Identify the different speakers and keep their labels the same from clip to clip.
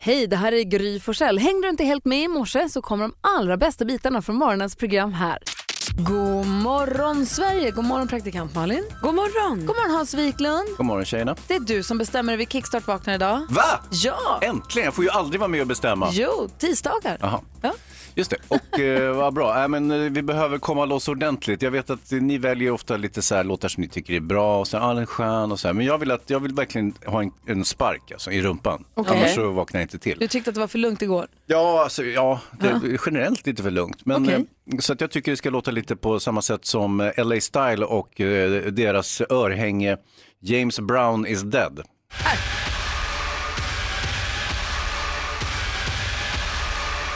Speaker 1: Hej, det här är Gry Forssell. Hängde du inte helt med i morse så kommer de allra bästa bitarna från morgonens program här. God morgon Sverige, god morgon praktikant Malin.
Speaker 2: God morgon.
Speaker 1: God morgon Hans Wiklund.
Speaker 3: God morgon tjejerna.
Speaker 1: Det är du som bestämmer över Kickstart vaknar idag.
Speaker 3: Va?
Speaker 1: Ja!
Speaker 3: Äntligen! Jag får ju aldrig vara med och bestämma.
Speaker 1: Jo, tisdagar.
Speaker 3: Jaha.
Speaker 1: Ja.
Speaker 3: Just det. Och eh, vad bra. Äh, men, eh, vi behöver komma loss ordentligt. Jag vet att eh, ni väljer ofta lite så här låtar som ni tycker är bra och sen, ah, den är skön och så här. Men jag vill, att, jag vill verkligen ha en, en spark alltså, i rumpan.
Speaker 1: Okej.
Speaker 3: Annars så vaknar jag inte till.
Speaker 1: Du tyckte att det var för lugnt igår.
Speaker 3: Ja, alltså, ja det, är generellt lite för lugnt. Men,
Speaker 1: Okej.
Speaker 3: eh, Så att jag tycker det ska låta lite på samma sätt som eh, LA Style och eh, deras örhänge James Brown is dead.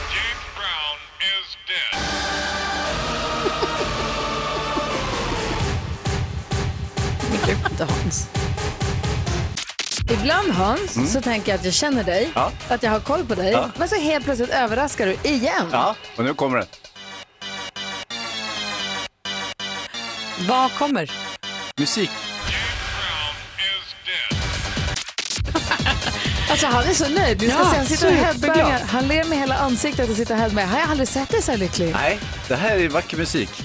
Speaker 4: James Brown is dead.
Speaker 1: Gud Hans. Ibland Hans, så tänker jag att jag känner dig,
Speaker 3: Ja.
Speaker 1: att jag har koll på dig.
Speaker 3: Ja.
Speaker 1: Men så helt plötsligt överraskar du igen.
Speaker 3: Ja, och nu kommer den.
Speaker 2: Vad kommer?
Speaker 3: Musik.
Speaker 4: James Brown is dead.
Speaker 1: Alltså han är så nöjd. Du ska
Speaker 2: Ja,
Speaker 1: se, han sitter och
Speaker 2: superglad.
Speaker 1: headbangar. Han ler med hela ansiktet och sitter och headbangar. Har jag aldrig sett dig så här lycklig?
Speaker 3: Nej, det här är vacker musik.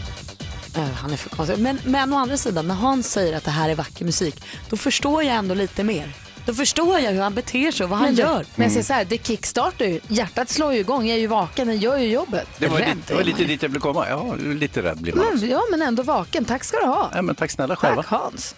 Speaker 2: Eh, han är för konstig. Men, men å andra sidan, när Hans säger att det här är vacker musik, då förstår jag ändå lite mer. Då förstår jag hur han beter sig och vad han
Speaker 1: du-
Speaker 2: gör.
Speaker 1: men jag säger så här, det kickstartar ju. Hjärtat slår ju igång, jag är ju vaken, den gör ju jobbet.
Speaker 3: Det var,
Speaker 1: Rädd
Speaker 3: lite, det var
Speaker 1: är
Speaker 3: lite dit jag ville komma. Ja, lite rädd blir man
Speaker 1: man.
Speaker 3: också.
Speaker 1: Men, Mm, ja, men ändå vaken. Tack ska du ha.
Speaker 3: Ja, men tack snälla själva.
Speaker 1: Tack Hans.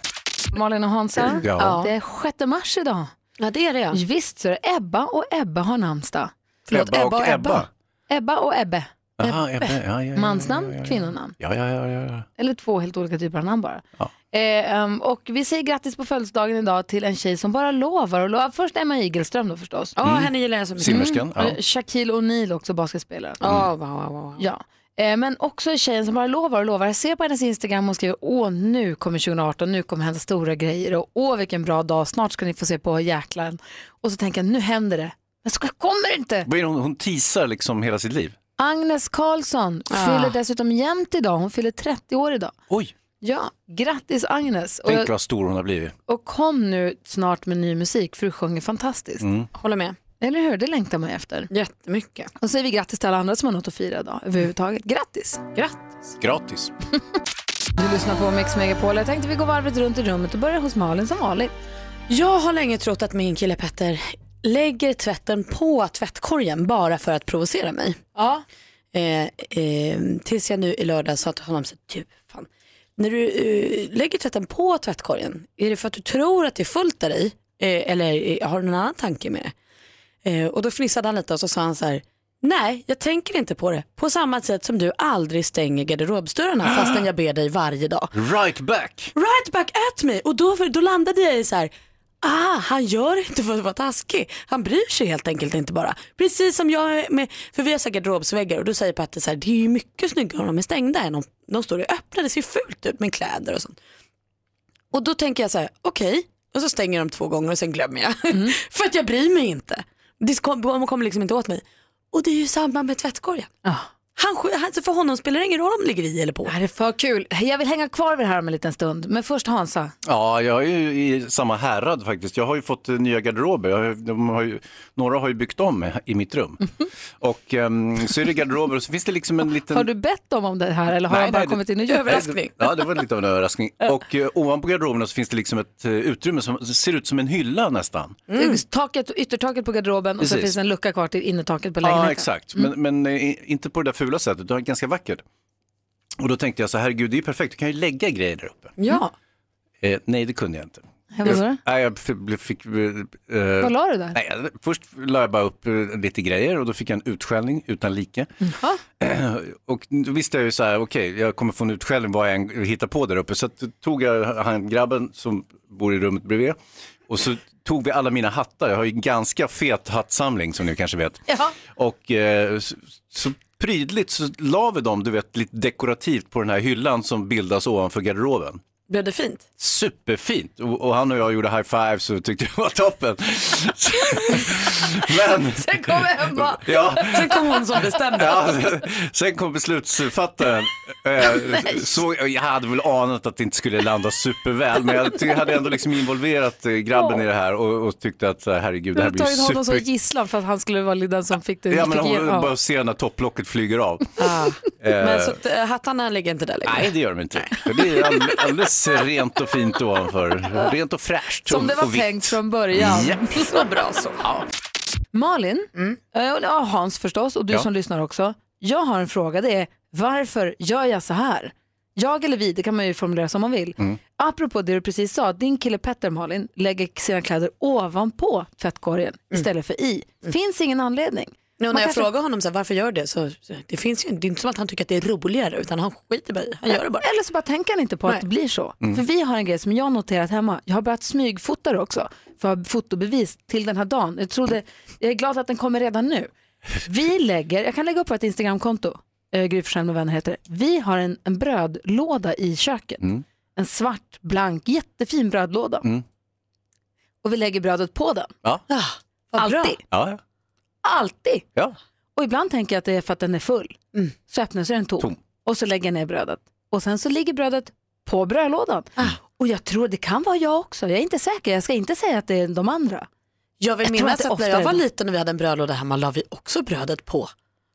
Speaker 1: Malin och Hansa,
Speaker 3: Ja.
Speaker 1: det är 6 mars idag.
Speaker 2: Ja, det är det ja.
Speaker 1: Visst så är det Ebba och Ebba har namnsdag.
Speaker 2: Förlåt,
Speaker 3: Ebba och Ebba.
Speaker 1: Ebba och Ebbe.
Speaker 3: Aha, Ebbe. Ja, ja, ja, ja,
Speaker 1: Mansnamn,
Speaker 3: ja, ja, ja.
Speaker 1: kvinnonamn.
Speaker 3: Ja, ja, ja, ja. ja.
Speaker 1: Eller två helt olika typer av namn bara.
Speaker 3: Ja.
Speaker 1: Eh, ehm, och vi säger grattis på födelsedagen idag till en tjej som bara lovar och lovar. Först Emma Igelström då förstås.
Speaker 2: Ja, henne gillar jag så mycket.
Speaker 3: Simmerskan. Mm. Ja.
Speaker 1: Eh, Shaquille O'Neal också, basketspelaren.
Speaker 3: Mm.
Speaker 2: Ja, wow, wow, wow.
Speaker 1: Ja. Eh, Men också tjejen som bara lovar och lovar. Jag ser på hennes Instagram och skriver åh nu kommer 2018, nu kommer hända stora grejer och åh vilken bra dag, snart ska ni få se på jäklar. Och så tänker jag nu händer det, men så kommer det inte.
Speaker 3: Vad är det hon, hon teasar liksom hela sitt liv.
Speaker 1: Agnes Karlsson
Speaker 2: Ah.
Speaker 1: fyller dessutom jämnt idag, hon fyller 30 år idag.
Speaker 3: Oj,
Speaker 1: Ja, grattis Agnes och,
Speaker 3: tänk vad stor hon har blivit.
Speaker 1: och kom nu snart med ny musik för du sjunger fantastiskt.
Speaker 3: Mm.
Speaker 2: Håller med.
Speaker 1: Eller hur, det längtar man ju efter.
Speaker 2: Jättemycket.
Speaker 1: Och så säger vi grattis till alla andra som har något att fira idag överhuvudtaget. Grattis!
Speaker 2: Grattis.
Speaker 3: Gratis.
Speaker 1: Du lyssnar på Mix Megapol. Jag tänkte vi går varvet runt i rummet och börjar hos Malin som vanligt.
Speaker 2: Jag har länge trott att min kille Petter lägger tvätten på tvättkorgen bara för att provocera mig.
Speaker 1: Ja.
Speaker 2: Eh, eh, tills jag nu i lördag sa till honom, så, här, du, fan, när du eh, lägger tvätten på tvättkorgen, är det för att du tror att det är fullt där i? Eh, eller eh, har du någon annan tanke med det? Eh, och då fnissade han lite och så sa han så här, nej jag tänker inte på det. På samma sätt som du aldrig stänger garderobsdörrarna fastän jag ber dig varje dag.
Speaker 3: Right back.
Speaker 2: Right back at me! Och då, då landade jag i så här, ah, han gör inte för att vara taskig. Han bryr sig helt enkelt inte bara. Precis som jag är med, för vi har så här garderobsväggar och då säger Petter så här, det är ju mycket snyggare om de är stängda än om de står och öppnar. Det ser fult ut med kläder och sånt. Och då tänker jag så här, okej, och så stänger jag dem två gånger och sen glömmer jag. för att jag bryr mig inte. Det kom- De kommer liksom inte åt mig. Och det är ju samma med tvättkorgen.
Speaker 1: Ja.
Speaker 2: Han, sk- han- så för honom spelar det ingen roll om det ligger i eller på.
Speaker 1: Det här är för kul. Jag vill hänga kvar vid det här om en liten stund. Men först Hansa.
Speaker 3: Ja, jag är ju i samma härad faktiskt. Jag har ju fått eh, nya garderober. Jag har, de har ju, några har ju byggt om i mitt rum.
Speaker 1: Mhm.
Speaker 3: Och ehm, så är det garderober och så finns det liksom en liten...
Speaker 1: Har du bett dem om det här eller har han bara
Speaker 3: det-
Speaker 1: kommit in och
Speaker 3: Nej,
Speaker 1: gjort
Speaker 3: det-
Speaker 1: det?
Speaker 3: Ja, det var lite av en överraskning. Och eh, ovanpå garderoberna så finns det liksom ett eh, utrymme som ser ut som en hylla nästan.
Speaker 1: Mm. Taket, yttertaket på garderoben och så
Speaker 3: Precis.
Speaker 1: finns det en lucka kvar till innertaket på lägenheten. Mm.
Speaker 3: Ja, exakt. Men, men eh, inte på det där fula sättet, utan ganska vackert. Och då tänkte jag så här, herregud, det är ju perfekt, du kan ju lägga grejer där uppe.
Speaker 2: Ja.
Speaker 3: Eh, nej, det kunde jag inte.
Speaker 1: Här, vad sa du?
Speaker 3: Nej, jag f- blev- fick... eh, eh,
Speaker 1: Mm. Vad la du där?
Speaker 3: Nej, jag- först la jag bara upp eh, lite grejer och då fick jag en utskällning utan like. Och då visste jag ju så här, okej, jag kommer få en utskällning vad jag än hittar på där uppe. Så att, då tog jag han grabben som bor i rummet bredvid och så tog vi alla mina hattar. Jag har ju en ganska fet hattsamling som ni kanske vet.
Speaker 1: Ja.
Speaker 3: Och eh, så, så prydligt så la vi dem, du vet, lite dekorativt på den här hyllan som bildas ovanför garderoben.
Speaker 2: Blev det fint?
Speaker 3: Superfint och, och han och jag gjorde high fives och tyckte det var toppen. Men,
Speaker 1: Sen kom Emma.
Speaker 3: ja,
Speaker 2: Sen kom hon som bestämde.
Speaker 3: ja, sen kom beslutsfattaren. Eh, så, jag hade väl anat att det inte skulle landa superväl men jag ty- hade ändå liksom involverat eh, grabben i det här och, och tyckte att så här, herregud
Speaker 1: Du
Speaker 3: det här
Speaker 1: har
Speaker 3: blir
Speaker 1: tagit honom som
Speaker 3: super...
Speaker 1: gisslan för att han skulle vara den som fick det.
Speaker 3: Ja men
Speaker 1: fick
Speaker 3: hon
Speaker 1: igenom.
Speaker 3: bara ser när topplocket flyger av.
Speaker 1: Ah.
Speaker 2: Men så att, eh, hattarna ligger inte där längre.
Speaker 3: Nej, det gör de inte. För det är all- alldeles rent och fint ovanför. Rent och fräscht.
Speaker 1: Som
Speaker 3: och-
Speaker 1: det var
Speaker 3: och vitt.
Speaker 1: tänkt från början.
Speaker 3: Ja.
Speaker 1: Så bra så. Malin, eh, och ja, Hans förstås och du
Speaker 3: Ja.
Speaker 1: som lyssnar också. Jag har en fråga, det är varför gör jag så här? Jag eller vi, det kan man ju formulera som man vill.
Speaker 3: Mm.
Speaker 1: Apropå det du precis sa, din kille Petter Malin lägger sina kläder ovanpå tvättkorgen istället för i. Finns ingen anledning.
Speaker 2: Mm. Nu
Speaker 1: Man
Speaker 2: när jag
Speaker 1: kanske-
Speaker 2: frågar honom så här, varför gör du det så så- det finns ju det är inte som att han tycker att det är roligare utan han skiter bara i Han gör det bara.
Speaker 1: Eller så bara tänker han inte på att
Speaker 2: Nej. Mm.
Speaker 1: det blir så. För vi har en grej som jag har noterat hemma. Jag har börjat smygfota det också för att ha fotobevis till den här dagen. Jag, trodde, jag är glad att den kommer redan nu. Vi lägger, jag kan lägga upp vårt Instagramkonto, eh, Gry Forssell med vänner heter det. Vi har en, en brödlåda i köket.
Speaker 2: Mm.
Speaker 1: En svart, blank, jättefin brödlåda. Och vi lägger brödet på den.
Speaker 3: Ja, ja.
Speaker 2: Ah, vad bra.
Speaker 1: Alltid.
Speaker 3: ja.
Speaker 1: Alltid.
Speaker 3: ja.
Speaker 1: Och ibland tänker jag att det är för att den är full.
Speaker 2: Mm.
Speaker 1: Så öppnas den tom.
Speaker 3: Tom.
Speaker 1: Och så lägger jag ner brödet. Och sen så ligger brödet på brödlådan.
Speaker 2: Ah.
Speaker 1: Och jag tror det kan vara jag också. Jag är inte säker. Jag ska inte säga att det är de andra.
Speaker 2: Jag vill
Speaker 1: Jag tror att
Speaker 2: minnas
Speaker 1: det
Speaker 2: att, när jag
Speaker 1: oftare-
Speaker 2: var liten och vi hade en brödlåda hemma la vi också brödet på.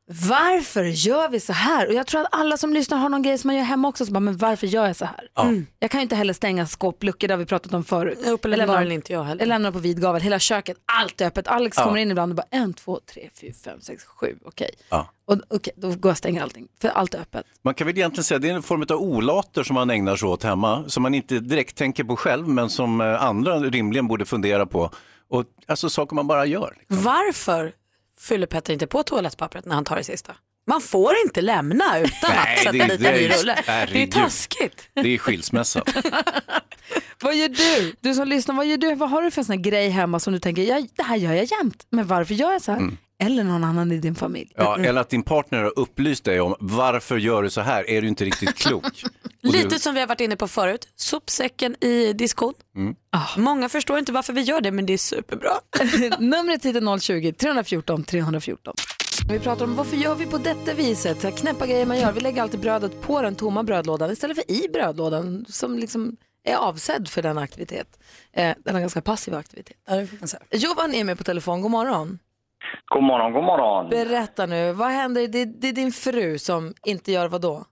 Speaker 1: Varför gör vi så här? Och jag tror att alla som lyssnar har någon grej som man gör hemma också. Så bara, men varför gör jag så här? Mm. Jag kan ju inte heller stänga skåpluckor där vi pratat om förut.
Speaker 2: Uppenbarligen inte jag heller.
Speaker 1: Jag lämnar på vid gavel, hela köket, allt är öppet. Alex kommer in ibland och bara en, två, tre, fyra, fem, sex, sju, okej.
Speaker 3: Ja.
Speaker 1: Och Okej, då går jag och stänger allting, för allt är öppet.
Speaker 3: Man kan väl egentligen säga att det är en form av olater som man ägnar sig åt hemma, som man inte direkt tänker på själv, men som eh, andra rimligen borde fundera på. Och, alltså saker man bara gör.
Speaker 2: Varför fyller Petter inte på toalettpappret när han tar det sista? Man får inte lämna utan
Speaker 3: Nej,
Speaker 2: att sätta
Speaker 3: det är-
Speaker 2: dit
Speaker 3: det
Speaker 2: en
Speaker 3: är
Speaker 2: ny
Speaker 3: ju-
Speaker 2: rulle. Det är
Speaker 3: herregud.
Speaker 2: taskigt.
Speaker 3: Det är skilsmässa.
Speaker 1: Vad gör du? Du som lyssnar, vad gör du? Vad har du för sån här grej hemma som du tänker, ja, det här gör jag jämt, men varför gör jag så här? Eller någon annan i din familj.
Speaker 3: Ja, eller att din partner har upplyst dig om varför gör du så här? Är du inte riktigt klok? Och du-
Speaker 2: Lite som vi har varit inne på förut, sopsäcken i diskon.
Speaker 3: Mm.
Speaker 2: Ah.
Speaker 1: Ah.
Speaker 2: Många förstår inte varför vi gör det men det är superbra.
Speaker 1: Numret hit är 020-314 314. Vi pratar om varför gör vi på detta viset? Så här Knäppa grejer man gör. Vi lägger alltid brödet på den tomma brödlådan istället för i brödlådan som liksom är avsedd för den aktivitet. Eh, denna ganska passiva aktivitet. Johan är med på telefon. God morgon.
Speaker 5: God morgon, god morgon.
Speaker 1: Berätta nu, vad händer? Det, det är din fru som inte gör vad då?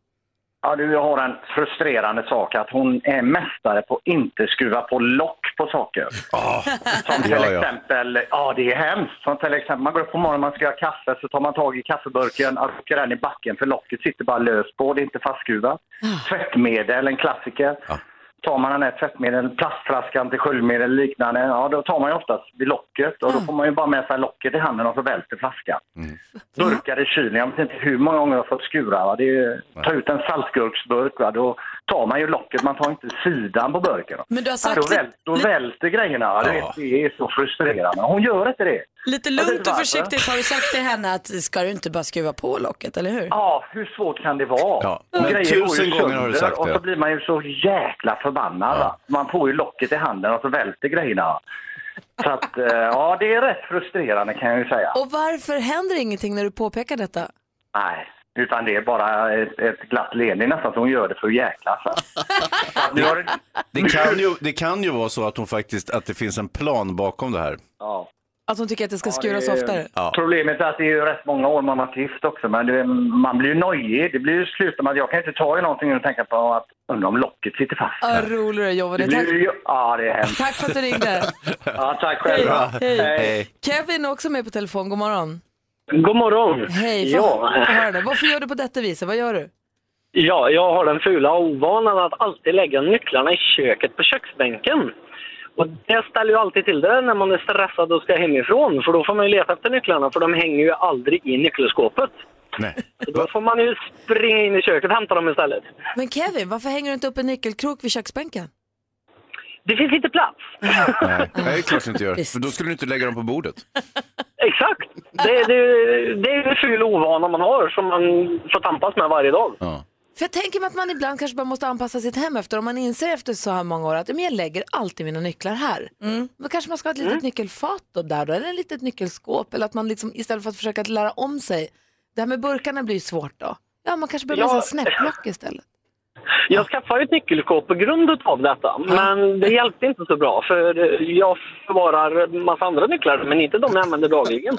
Speaker 5: Ja, du, jag har en frustrerande sak att hon är mästare på att inte skruva på lock på saker. Som till
Speaker 3: Ja, ja.
Speaker 5: exempel, ja det är hemskt. Som till exempel, man går upp på morgonen, man ska göra kaffe, så tar man tag i kaffeburken, och rycker den i backen för locket sitter bara löst på, det är inte fastskruvat. Tvättmedel, en klassiker. Tar man den här tvättmedel, plastflaskan till sköljmedel eller liknande, ja då tar man ju oftast vid locket och då får man ju bara med sig locket i handen och så välter flaskan.
Speaker 6: Mhm.
Speaker 5: burkar i kylen. Jag vet inte hur många gånger jag har fått skura. Va? Det är ju, ta ut en saltgurksburk, va? då tar man ju locket, man tar inte sidan på burken. Va?
Speaker 2: Men du har
Speaker 5: Ja,
Speaker 2: sagt
Speaker 5: då, väl, då
Speaker 2: lite,
Speaker 5: välter grejerna. Va? Du
Speaker 3: Ja.
Speaker 5: vet, det är så frustrerande. Hon gör inte det.
Speaker 2: lite
Speaker 5: Jag vet
Speaker 2: lugnt
Speaker 5: inte
Speaker 2: och
Speaker 5: varför.
Speaker 2: försiktigt har du sagt till henne att ska du inte bara skruva på locket, eller hur?
Speaker 5: Ja, hur svårt kan det vara?
Speaker 3: Ja,
Speaker 5: Och
Speaker 3: men
Speaker 5: grejer går ju
Speaker 3: tusen gånger har du sagt
Speaker 5: Och
Speaker 3: det.
Speaker 5: så blir man ju så jäkla förbannad. Va? Man får ju locket i handen och så välter grejerna. Så att, eh, ja, det är rätt frustrerande kan jag ju säga.
Speaker 1: Och varför händer ingenting när du påpekar detta?
Speaker 5: Nej, utan det är bara ett, ett glatt leende nästan, så hon gör det för att jäklas. va? Så att nu har det-
Speaker 3: Det, kan ju, det kan ju vara så att, hon faktiskt, att det finns en plan bakom det här.
Speaker 5: Ja.
Speaker 1: Att hon tycker att det ska
Speaker 5: Ja,
Speaker 1: skuras
Speaker 5: det är-
Speaker 1: oftare?
Speaker 3: Ja.
Speaker 5: Problemet är att det är ju rätt många år man har varit gift också, men det, man blir ju nojig. Det blir ju slut med att jag kan inte ta i någonting och tänka på att undra om locket sitter fast.
Speaker 1: Vad rolig du är Johan.
Speaker 5: Det
Speaker 1: Tack,
Speaker 5: blir ju, ja, det är hemskt.
Speaker 1: tack för att du ringde.
Speaker 5: Ja, tack själv.
Speaker 1: Hej.
Speaker 3: Hej.
Speaker 1: Kevin är också med på telefon, god morgon.
Speaker 7: God morgon!
Speaker 1: Hej, får
Speaker 7: Mm. ja,
Speaker 1: jag höra det? varför gör du på detta viset? Vad gör du?
Speaker 7: ja, jag har den fula ovanan att alltid lägga nycklarna i köket på köksbänken. Och det ställer ju alltid till det när man är stressad och ska hemifrån. För då får man ju leta efter nycklarna för de hänger ju aldrig i nyckelskåpet.
Speaker 3: Nej.
Speaker 7: Så Då får man ju springa in i köket och hämta dem istället.
Speaker 1: Men Kevin, varför hänger du inte upp en nyckelkrok vid köksbänken?
Speaker 7: Det finns inte plats.
Speaker 3: Nej, det är klart du inte gör. För då skulle du inte lägga dem på bordet.
Speaker 7: Exakt! Det, det, det är en ful ovana man har som man får tampas med varje dag.
Speaker 3: Ja.
Speaker 1: För jag tänker mig att man ibland kanske bara måste anpassa sitt hem efter. Om man inser efter så här många år att "Men jag lägger alltid mina nycklar här.
Speaker 7: Mm.
Speaker 1: Då kanske man ska ha ett litet nyckelfat då, där då, eller ett litet nyckelskåp. Eller att man liksom, istället för att försöka att lära om sig. Det här med burkarna blir ju svårt då. Ja, man kanske behöver
Speaker 8: Ja.
Speaker 1: ja. snäpplock istället.
Speaker 8: Jag skaffade ju ett nyckelskåp på grund av detta, men det hjälpte inte så bra för jag förvarar massa andra nycklar, men inte de jag använder dagligen.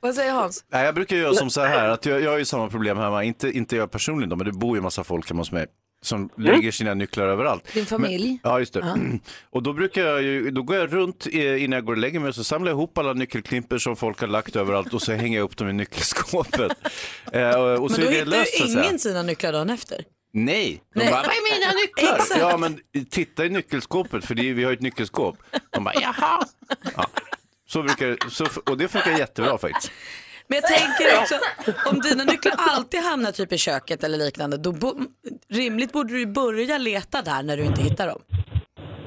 Speaker 1: Vad säger Hans?
Speaker 3: Nej, jag brukar göra som så här, att jag, jag har ju samma problem hemma, inte, inte jag personligen då, men det bor ju massa folk hemma hos mig som
Speaker 2: Mm.
Speaker 3: lägger sina nycklar överallt.
Speaker 1: Din familj?
Speaker 3: Men, ja, just det. Och då brukar jag ju, då går jag runt eh, innan jag går och lägger mig och så samlar jag ihop alla nyckelklimpor som folk har lagt överallt och så hänger jag upp dem i nyckelskåpet. eh, och, och så
Speaker 2: Men
Speaker 3: är
Speaker 2: då
Speaker 3: det
Speaker 2: hittar
Speaker 3: löst, så
Speaker 2: ju
Speaker 3: att säga.
Speaker 2: ingen sina nycklar dagen efter.
Speaker 3: Nej, de bara, vad är mina nycklar? Ja, men titta i nyckelskåpet, för det är, vi har ju ett nyckelskåp. De bara, jaha. Ja. Så brukar, så, och det funkar jättebra faktiskt.
Speaker 2: Men jag tänker också att om dina nycklar alltid hamnar typ i köket eller liknande, då bo- rimligt borde du ju börja leta där när du inte hittar dem.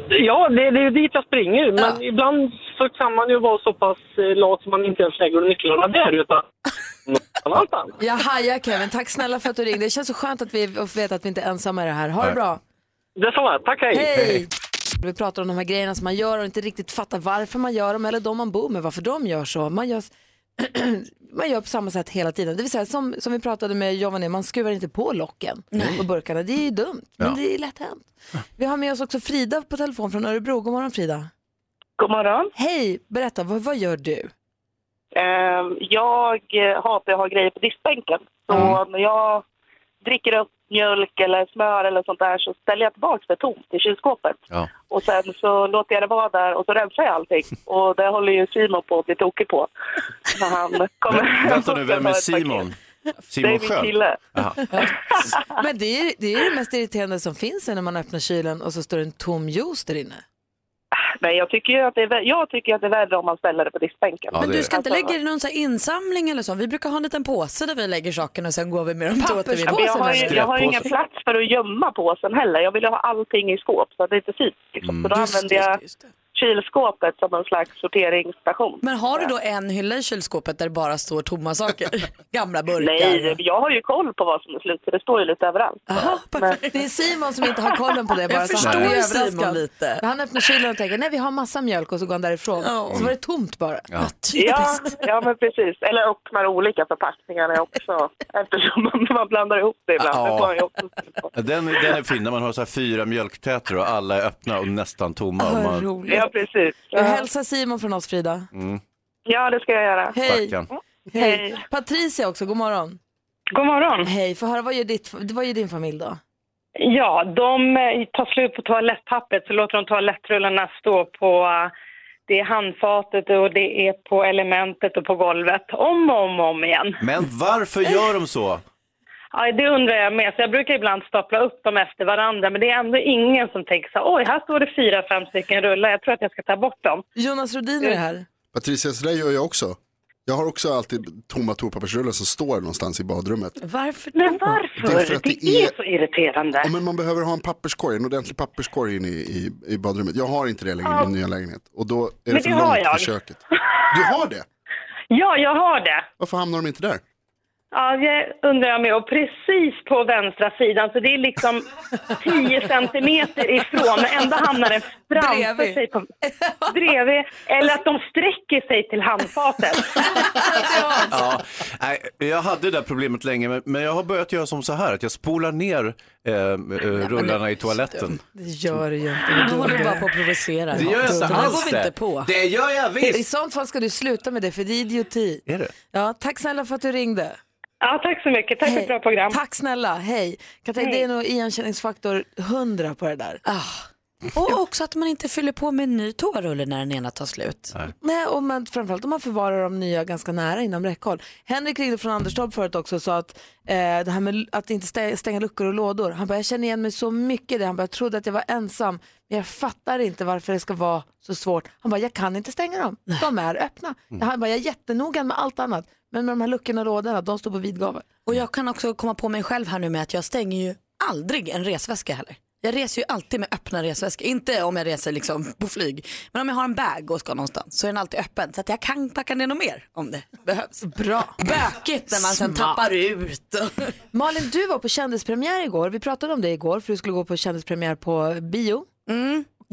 Speaker 8: Ja, det, det är ju dit jag springer, men
Speaker 2: Ja.
Speaker 8: ibland så kan man ju vara så pass eh, lat som man inte ens lägger nycklarna där utan någon annanstans.
Speaker 1: Jag hajar Kevin. Tack snälla för att du ringde. Det känns så skönt att vi vet att vi inte är ensamma i det här. Ha det
Speaker 3: Nej.
Speaker 1: bra.
Speaker 8: Detsamma, tack hej!
Speaker 1: Hej! Vi pratar om de här grejerna som man gör och inte riktigt fattar varför man gör dem eller de man bor med, varför de gör så. Man gör, man gör på samma sätt hela tiden. Det vill säga som, som vi pratade med Giovanni, man skruvar inte på locken på burkarna. Det är ju dumt, men
Speaker 3: Ja.
Speaker 1: det är lätt hänt. Vi har med oss också Frida på telefon från Örebro. God morgon Frida.
Speaker 9: God morgon.
Speaker 1: Hej, berätta, vad, vad gör du?
Speaker 9: Eh, Jag eh, hatar att ha grejer på diskbänken. Så
Speaker 8: Mm.
Speaker 9: när jag dricker upp mjölk eller smör eller sånt där så ställer jag tillbaka det tomt i kylskåpet.
Speaker 3: Ja.
Speaker 9: Och sen så låter jag det vara där och så rensar jag allting. Och det håller ju Simon på att bli tokig på. När han kommer hem
Speaker 3: Vänta nu,
Speaker 9: och
Speaker 3: vem är
Speaker 9: tar ett paket.
Speaker 3: Simon?
Speaker 9: Det är
Speaker 3: Simon
Speaker 9: min
Speaker 3: Sköld?
Speaker 9: kille.
Speaker 3: Aha.
Speaker 1: Men det är, det är det mest irriterande som finns när man öppnar kylen och så står det en tom juice där inne.
Speaker 9: Nej, jag tycker ju att det är, vä- jag tycker att det är värre om man ställer det på diskbänken.
Speaker 3: Ja,
Speaker 2: Men
Speaker 3: det
Speaker 2: du
Speaker 3: är
Speaker 2: ska inte
Speaker 9: Alltså-
Speaker 2: lägga det i någon så här insamling eller så? Vi brukar ha en liten påse där vi lägger sakerna och sen går vi med dem till
Speaker 1: Papperspåse.
Speaker 9: Men
Speaker 2: återvinning.
Speaker 9: jag har, ju, jag har ju ingen
Speaker 3: Skräppåse.
Speaker 9: plats för att gömma påsen heller. Jag vill ju ha allting i skåp så att det inte syns. Liksom. Så då använder jag kylskåpet som en slags sorteringsstation.
Speaker 2: Men har du då en hylla i kylskåpet där det bara står tomma saker? Gamla burkar?
Speaker 9: Nej, jag har ju koll på vad som är slut så det står ju lite överallt.
Speaker 2: Aha, perfekt.
Speaker 1: Det är Simon som inte har kollen på det bara.
Speaker 2: Jag
Speaker 1: så han
Speaker 2: förstår
Speaker 1: blir
Speaker 2: ju
Speaker 1: överraskad.
Speaker 2: Simon lite.
Speaker 1: Han öppnar kylen och tänker, nej vi har massa mjölk och så går han därifrån.
Speaker 2: Ja.
Speaker 1: Så var det tomt bara. Ah,
Speaker 2: Ja,
Speaker 9: Ja,
Speaker 2: typiskt.
Speaker 9: ja, men precis. Eller öppnar olika förpackningar är också eftersom man, man blandar ihop det ibland.
Speaker 3: Ja.
Speaker 9: Det får man ju också se på.
Speaker 3: Den, den är fin när man har så här fyra mjölktäter och alla är öppna och nästan tomma. Och
Speaker 1: Vad
Speaker 3: man Mm.
Speaker 1: roligt.
Speaker 9: Ja, precis.
Speaker 1: Du
Speaker 9: Ja.
Speaker 1: hälsar Simon från oss Frida.
Speaker 9: ja, det ska jag göra.
Speaker 1: Hej.
Speaker 3: backar.
Speaker 1: Hej. Patricia också, god morgon.
Speaker 7: God morgon.
Speaker 1: Hej, få höra vad gör, ditt, vad gör din familj då?
Speaker 7: Ja, de eh, tar slut på toalettpappret så låter de toalettrullarna stå på eh, det är handfatet och det är på elementet och på golvet om och om, och om igen.
Speaker 3: Men varför gör de så?
Speaker 7: Ja, det undrar jag med. Så jag brukar ibland stapla upp dem efter varandra men det är ändå ingen som tänker så här, oj här står det fyra, fem stycken rullar, jag tror att jag ska ta bort dem.
Speaker 1: Jonas Rodiner är här.
Speaker 10: Patricia, så där gör jag också. Jag har också alltid tomma toapappersrullar som står någonstans i badrummet.
Speaker 2: Varför
Speaker 7: Men
Speaker 2: då?
Speaker 7: varför?
Speaker 10: Det är
Speaker 7: Det
Speaker 10: för
Speaker 7: är,
Speaker 10: att det är-
Speaker 7: så irriterande.
Speaker 10: Ja, men man behöver ha en papperskorg, en ordentlig papperskorg in i, i, i badrummet. Jag har inte det längre i min nya lägenhet. Och då är det
Speaker 7: Men
Speaker 10: för
Speaker 7: det har
Speaker 10: långt för
Speaker 7: jag.
Speaker 10: köket. Du har det?
Speaker 7: Ja, jag har det.
Speaker 10: Varför hamnar de inte där?
Speaker 7: Ja, det undrar jag med. Och precis på vänstra sidan, så det är liksom 10 centimeter ifrån, men ändå hamnar den framför
Speaker 1: Bredvid.
Speaker 7: sig. På, bredvid. Eller att de sträcker sig till handfatet.
Speaker 3: Ja, nej, jag hade det där problemet länge, men, men jag har börjat göra som så här, att jag spolar ner eh, eh, rullarna i toaletten.
Speaker 1: Det gör du ju inte.
Speaker 2: Du håller bara på att provocera.
Speaker 3: Det gör jag inte
Speaker 2: det. här går
Speaker 3: alls
Speaker 2: vi inte på.
Speaker 3: Det gör jag
Speaker 1: I
Speaker 3: visst.
Speaker 1: sånt fall ska du sluta med det, för det är idioti.
Speaker 3: Är det?
Speaker 1: Ja, tack snälla för att du ringde.
Speaker 7: Ja, tack så mycket. Tack för ett bra program.
Speaker 1: Tack snälla, hej. Kan tänka, det är nog igenkänningsfaktor 100 på det där.
Speaker 2: Och också att man inte fyller på med en ny toarulle när den ena tar slut.
Speaker 1: Nej, och man, framförallt om man förvarar de nya ganska nära inom räckhåll. Henrik ringde från Anderstorp förut också och sa att eh, det här med att inte stä- stänga luckor och lådor. Han bara, jag känner igen mig så mycket i det. Han bara, jag trodde att jag var ensam, men jag fattar inte varför det ska vara så svårt. Han bara, jag kan inte stänga dem. De är öppna. Han bara, jag är jättenoga med allt annat, men med de här luckorna och lådorna, de står på vid gavel.
Speaker 2: Och jag kan också komma på mig själv här nu med att jag stänger ju aldrig en resväska heller. Jag reser ju alltid med öppna resväskor. Inte om jag reser liksom på flyg. Men om jag har en bag och ska någonstans så är den alltid öppen. Så att jag kan packa ner något mer om det behövs.
Speaker 1: Bra.
Speaker 2: Bökigt när man sen
Speaker 1: Smart.
Speaker 2: tappar ut.
Speaker 1: Malin, du var på kändispremiär igår. Vi pratade om det igår för du skulle gå på kändispremiär på bio.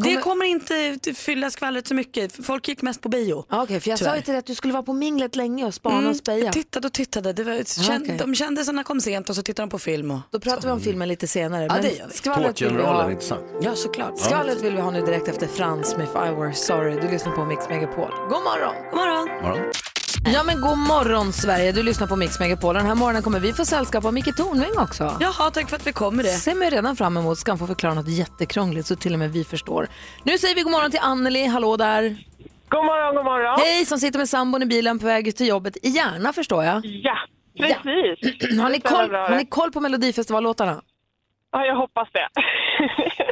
Speaker 2: Det kommer inte fylla skvallret så mycket. Folk gick mest på bio.
Speaker 1: Ja, Okej, för jag sa
Speaker 2: Tyvärr.
Speaker 1: ju till dig att du skulle vara på minglet länge och spana Mm, och speja.
Speaker 2: Jag tittade och tittade. Det var, känd,
Speaker 1: okej.
Speaker 2: De kändisarna kom sent och så tittade de på film. Och,
Speaker 1: Då pratar vi om filmen lite senare.
Speaker 2: Ja, det gör vi.
Speaker 1: skvallret vill vi
Speaker 3: Tårtgeneralen,
Speaker 1: ha.
Speaker 3: inte sant?
Speaker 2: ja, såklart.
Speaker 1: Skvallret vill vi ha nu direkt efter Frans med If I Were Sorry. Du lyssnar på Mix Megapol. God morgon!
Speaker 2: God morgon.
Speaker 3: Morgon.
Speaker 1: Ja men god morgon Sverige, du lyssnar på Mix Megapol. Den här morgonen kommer vi få sällskap av Micke Tornving också.
Speaker 2: Jaha, tack för att vi kom med det.
Speaker 1: Ser mig redan fram emot, ska han få förklara något jättekrångligt så till och med vi förstår. Nu säger vi god morgon till Anneli, hallå där.
Speaker 8: God morgon, god morgon.
Speaker 1: Hej, som sitter med sambon i bilen på väg ut till jobbet i Järna förstår jag.
Speaker 7: Ja, precis.
Speaker 1: Har ni
Speaker 7: Det stämmer
Speaker 1: koll,
Speaker 7: bra
Speaker 1: har
Speaker 7: det.
Speaker 1: ni koll på Melodifestivallåtarna?
Speaker 7: Ja, jag hoppas det.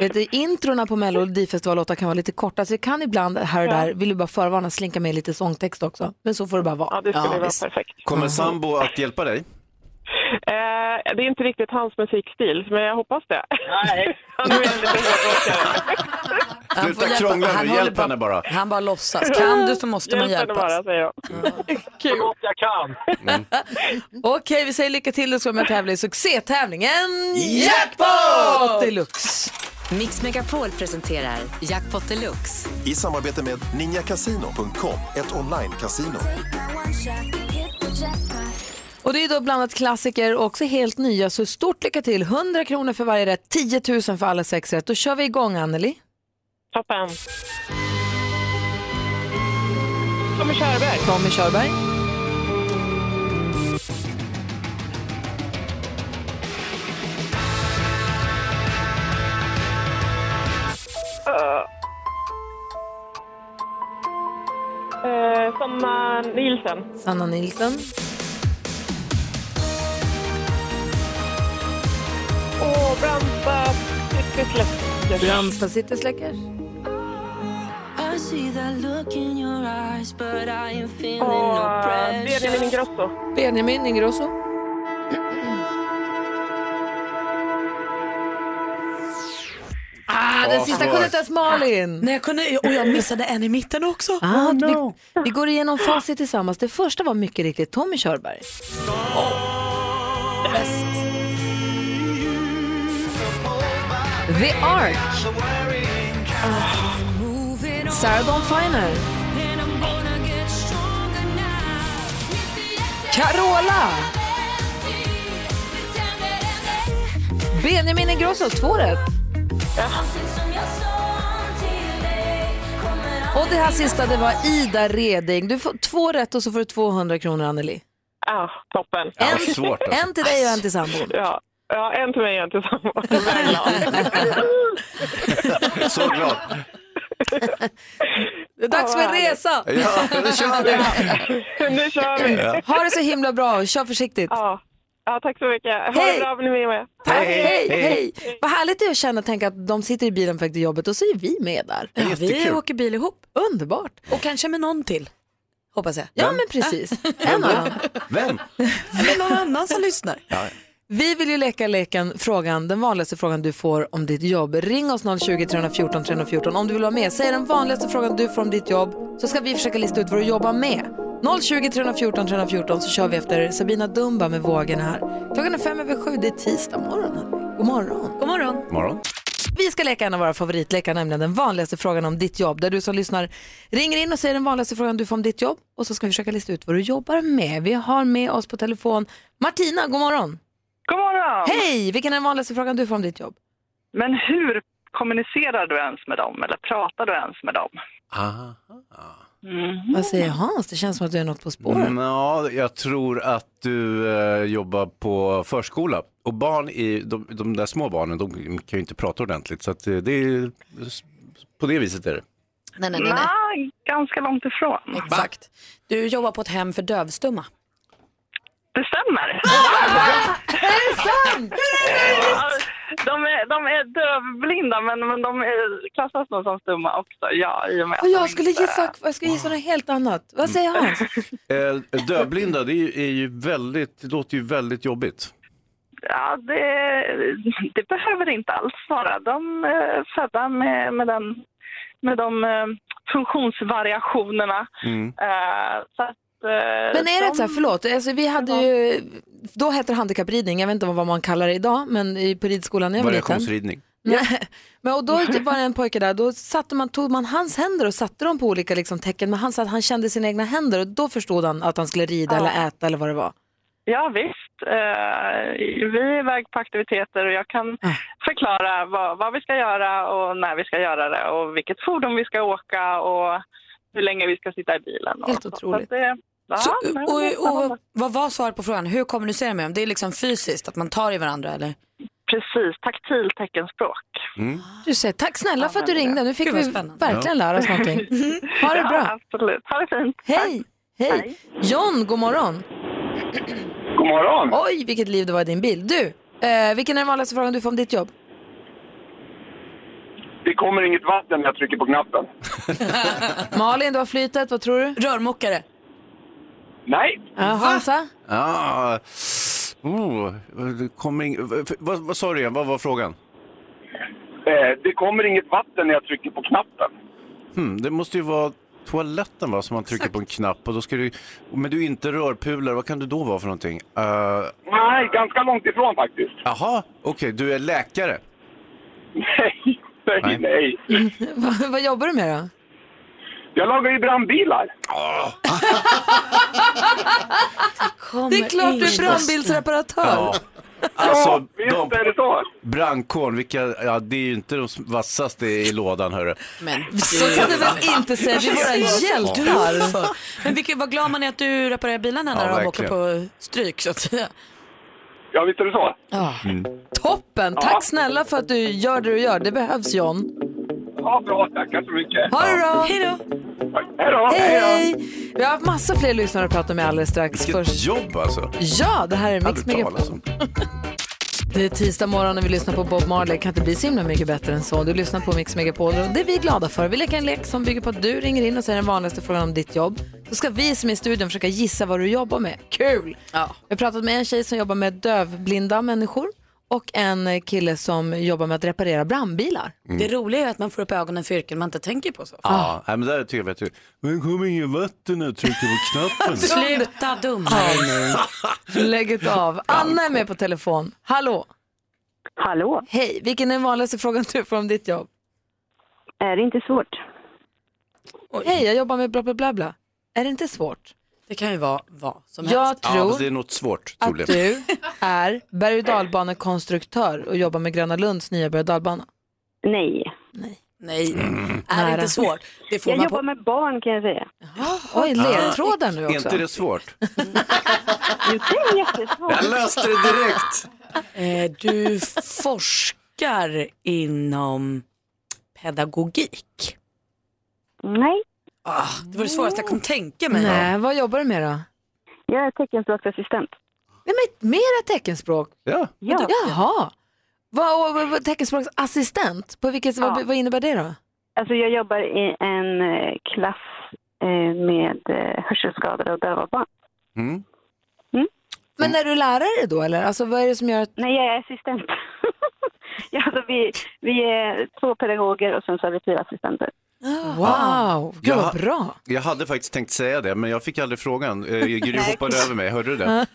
Speaker 1: Vet du, introna på Melodifestivallåtar kan vara lite korta så det kan ibland här och där, vill du bara förvarna, slinka med lite sångtext också. Men så får det bara vara.
Speaker 7: Ja, det skulle
Speaker 2: Ja,
Speaker 7: vara
Speaker 2: visst.
Speaker 7: perfekt.
Speaker 3: Kommer sambo att hjälpa dig?
Speaker 7: Eh, det är inte riktigt hans musikstil, men jag hoppas det. Nej. Han är väldigt hårdrockare.
Speaker 2: Han
Speaker 3: Sluta
Speaker 2: får hjälpa-
Speaker 3: krångla nu,
Speaker 2: han håller
Speaker 3: hjälp henne bara.
Speaker 2: Han bara låtsas. Kan du så måste man
Speaker 7: Hjälp henne bara,
Speaker 2: hjälpas.
Speaker 7: säger jag.
Speaker 1: Kul.
Speaker 8: Jag kan.
Speaker 1: Okej, vi säger lycka till. Du ska vara med och tävla i succétävlingen Jackpot Deluxe.
Speaker 11: Mix Megapol presenterar Jackpot Deluxe.
Speaker 12: I samarbete med ninjakasino.com, ett online-casino.
Speaker 1: Och det är då blandat klassiker och också helt nya. Så stort lycka till. 100 kronor för varje rätt, 10 000 för alla sex rätt. Då kör vi igång, Anneli.
Speaker 7: Toppen. Tommy Körberg.
Speaker 1: Tommy Körberg.
Speaker 7: Eh, Sanna Nielsen.
Speaker 1: Sanna Nilsson.
Speaker 7: Och Branta Pyttelefter.
Speaker 1: Ramstad City Släckers.
Speaker 7: Och eh, Benjamin Ingrosso.
Speaker 1: Benjamin Ingrosso. Ah, den sista kunde inte ens Malin.
Speaker 2: Nej, jag kunde, och jag missade en i mitten också.
Speaker 1: Ah, vi, vi går igenom facit tillsammans. Det första var mycket riktigt Tommy Körberg. The Ark. Sarah Dawn Finer. Carola. Benjamin Ingrosso, två rätt. Och det här sista det var Ida Reding. Du får två rätt och så får du 200 kronor Anneli.
Speaker 7: Ja, toppen.
Speaker 3: Ja, vad svårt alltså.
Speaker 1: En till dig och en till sambon.
Speaker 7: Ja. Ja, en till mig och en till samma.
Speaker 3: Så glad.
Speaker 1: Det är dags för en resa.
Speaker 3: Ja, nu kör vi.
Speaker 7: nu kör vi.
Speaker 1: Ha det så himla bra. Kör försiktigt.
Speaker 7: Ja. ja, tack så mycket. Ha
Speaker 1: Hej.
Speaker 7: det bra, ni är med.
Speaker 1: Tack. Hej, hej. Vad härligt det är att känna och tänka att de sitter i bilen på väg till jobbet och så är vi med där.
Speaker 2: Ja, vi åker bil ihop.
Speaker 1: Underbart.
Speaker 2: Och kanske med någon till. Hoppas jag.
Speaker 1: Ja, men precis. En annan.
Speaker 3: Vem?
Speaker 2: Med någon annan som lyssnar.
Speaker 1: Vi vill ju leka leken frågan, den vanligaste frågan du får om ditt jobb. Ring oss 020 314 314 om du vill vara med. Säg den vanligaste frågan du får om ditt jobb så ska vi försöka lista ut vad du jobbar med. 020 314 314 så kör vi efter Sabina Dumba med vågen här. Klockan är fem över sju, det är tisdag morgon. hörni. God morgon.
Speaker 2: God morgon.
Speaker 3: Morgon.
Speaker 1: Vi ska leka en av våra favoritlekar, nämligen den vanligaste frågan om ditt jobb. Där du som lyssnar ringer in och säger den vanligaste frågan du får om ditt jobb. Och så ska vi försöka lista ut vad du jobbar med. Vi har med oss på telefon Martina, god morgon.
Speaker 7: God morgon!
Speaker 1: Hej, vilken är den vanligaste frågan du får om ditt jobb?
Speaker 9: Men hur kommunicerar du ens med dem eller pratar du ens med dem?
Speaker 3: Aha.
Speaker 1: Vad säger Hans? Det känns som att du är något på spåren.
Speaker 3: Mm, Ja, jag tror att du eh, jobbar på förskola. Och barn, i, de, de där små barnen, de kan ju inte prata ordentligt. Så att eh, det är, på det viset är det.
Speaker 2: Nej, nej, nej. nej.
Speaker 9: Nej, ganska långt ifrån.
Speaker 2: Exakt. Du jobbar på ett hem för dövstumma.
Speaker 9: Det stämmer. Ja, de, är, de är dövblinda, men, men de är, klassas nog som stumma också. Ja, i och
Speaker 7: Mm,
Speaker 9: med
Speaker 1: Och
Speaker 9: att de
Speaker 1: jag skulle
Speaker 9: inte-
Speaker 1: gissa, jag skulle gissa något helt annat. Vad säger Hans?
Speaker 3: Eh, dövblinda, det är ju, är ju väldigt, det låter ju väldigt jobbigt.
Speaker 9: ja, det, det behöver inte alls vara. De är födda med, med, den, med de eh, funktionsvariationerna. Eh, så att, eh,
Speaker 1: Men är det ett så här, förlåt, alltså, vi hade ju, då hette det handikappridning, jag vet inte vad man kallar det idag, men i- på ridskolan när jag var liten.
Speaker 3: Variationsridning.
Speaker 1: Nej, Men, och då var det en pojke där, då satte man, tog man hans händer och satte dem på olika liksom, tecken, men han sa att han kände sina egna händer och då förstod han att han skulle rida
Speaker 9: Ja.
Speaker 1: eller äta eller vad det var.
Speaker 9: Ja visst, Eh, vi är iväg på aktiviteter och jag kan förklara vad, vad vi ska göra och när vi ska göra det och vilket fordon vi ska åka och hur länge vi ska sitta i bilen. och
Speaker 2: Helt
Speaker 9: så. Så att
Speaker 2: otroligt.
Speaker 9: det- Ja,
Speaker 2: Så,
Speaker 9: men det är
Speaker 2: och,
Speaker 9: spännande.
Speaker 2: och, vad var svaret på frågan? Hur kommunicerar man? Det är liksom fysiskt, att man tar i varandra eller?
Speaker 9: Precis, taktil teckenspråk.
Speaker 1: Du säger tack snälla för att du
Speaker 9: Använder
Speaker 1: ringde,
Speaker 9: det.
Speaker 1: nu fick
Speaker 9: Gud,
Speaker 1: vi
Speaker 9: vad spännande.
Speaker 1: verkligen
Speaker 9: Ja.
Speaker 1: lära oss någonting. Ha det
Speaker 9: Ja,
Speaker 1: bra.
Speaker 9: absolut. Ha det fint.
Speaker 1: Hej. Hej. John, god morgon.
Speaker 13: God morgon.
Speaker 1: Oj, vilket liv det var i din bil. Du, eh, vilken är den vanligaste frågan du får om ditt jobb?
Speaker 13: Det kommer inget vatten när jag trycker på knappen.
Speaker 1: Malin, du har flytet, vad tror du?
Speaker 2: Rörmokare.
Speaker 13: Nej.
Speaker 1: Ja, Hansa?
Speaker 3: Ah, oh, det kommer in, vad, vad sa du igen, vad var frågan?
Speaker 13: Eh, det kommer inget vatten när jag trycker på knappen.
Speaker 3: Hmm, det måste ju vara toaletten va, som man trycker på en knapp och då ska du, men du är inte rörpulare, vad kan du då vara för någonting? Eh,
Speaker 13: Nej, ganska långt ifrån faktiskt.
Speaker 3: Jaha, Ah, okej, du är läkare?
Speaker 13: Nej, nej, nej.
Speaker 1: vad, vad jobbar du med då?
Speaker 13: Jag lagar ju brandbilar.
Speaker 3: Ah,
Speaker 1: Det är klart du är
Speaker 13: ingen
Speaker 1: brandbilsreparatör.
Speaker 3: Ja. Alltså,
Speaker 13: visst
Speaker 3: de,
Speaker 13: är det så.
Speaker 3: brandkåren, vilka, ja, det är ju inte de vassaste i lådan hörru.
Speaker 2: Men
Speaker 1: Så kan du väl inte säga till våra hjältar?
Speaker 2: Men vilket, vad glad man är att du reparerar bilarna när
Speaker 3: Ja,
Speaker 2: de åker på
Speaker 3: verkligen.
Speaker 2: stryk så att säga.
Speaker 1: Mm.
Speaker 13: Ja, visst är det så.
Speaker 3: Mm.
Speaker 1: Toppen! Tack snälla för att du gör det du gör. Det behövs John.
Speaker 13: Ja, bra. Tackar så mycket.
Speaker 1: Ha det bra! Hej
Speaker 13: då!
Speaker 1: Hej! Vi har haft massa fler lyssnare att prata med alldeles strax.
Speaker 3: Vilket
Speaker 1: Först-
Speaker 3: jobb alltså.
Speaker 1: Ja, det här är Mix
Speaker 3: Aldrig talas
Speaker 1: Megapol.
Speaker 3: om.
Speaker 1: Det är tisdag morgon och vi lyssnar på Bob Marley. Kan inte bli så himla mycket bättre än så. Du lyssnar på Mix Megapol och det är vi glada för. Vi leker en lek som bygger på att du ringer in och säger den vanligaste frågan om ditt jobb. Så ska vi som är i studion försöka gissa vad du jobbar med. Kul!
Speaker 2: Ja.
Speaker 1: Jag har pratat med en tjej som jobbar med dövblinda människor och en kille som jobbar med att reparera brandbilar.
Speaker 2: Det roliga är att man får upp ögonen för yrken man inte tänker på så.
Speaker 3: Ja, nej, men där tycker jag att du, men kommer ingen vatten när jag trycker på knappen?
Speaker 2: Sluta dumma
Speaker 1: Lägg ut av. Anna är med på telefon. Hallå!
Speaker 14: Hallå!
Speaker 1: Hej! Vilken är den vanligaste frågan du får om ditt jobb?
Speaker 14: Är det inte svårt?
Speaker 1: Hej, jag jobbar med bla bla bla bla. Är det inte svårt?
Speaker 2: Det kan ju vara vad som
Speaker 1: Jag
Speaker 2: helst.
Speaker 1: tror-
Speaker 3: Ja, fast det är något svårt
Speaker 1: Att
Speaker 3: troligen.
Speaker 1: du är berg och dalbanekonstruktör och jobbar med Gröna Lunds nya berg och dalbana?
Speaker 14: Nej.
Speaker 2: Nej,
Speaker 1: Nära.
Speaker 2: är det inte svårt? Det får
Speaker 14: jag
Speaker 2: man
Speaker 14: jobbar
Speaker 2: på...
Speaker 14: med barn kan jag säga.
Speaker 1: Oj,
Speaker 3: Ah.
Speaker 1: ledtrådar nu
Speaker 3: Är
Speaker 1: också.
Speaker 3: inte det svårt?
Speaker 14: Jo, det är jättesvårt.
Speaker 3: Jag löste det direkt.
Speaker 2: Eh, du forskar inom pedagogik.
Speaker 14: Nej.
Speaker 2: Ah, det var det svåraste jag kunde tänka mig.
Speaker 1: Nej, vad jobbar du med då?
Speaker 14: Jag är teckenspråksassistent.
Speaker 1: Nej, men mera teckenspråk?
Speaker 3: Ja.
Speaker 14: Ja.
Speaker 1: Jaha. Vad, vad, vad, teckenspråksassistent, på vilket, vad, vad innebär det då?
Speaker 14: Alltså jag jobbar i en eh, klass eh, med eh, hörselskadade och döva barn. Mm.
Speaker 1: Men är du lärare då eller? Alltså vad är det som gör att...
Speaker 14: Nej, jag är assistent. ja, alltså vi, vi är två pedagoger och sen så har vi fyra assistenter.
Speaker 1: Wow, gud
Speaker 3: Jag-
Speaker 1: vad bra.
Speaker 3: Jag hade faktiskt tänkt säga det, men jag fick aldrig frågan. Eh, Gry hoppade över mig, hörde du det?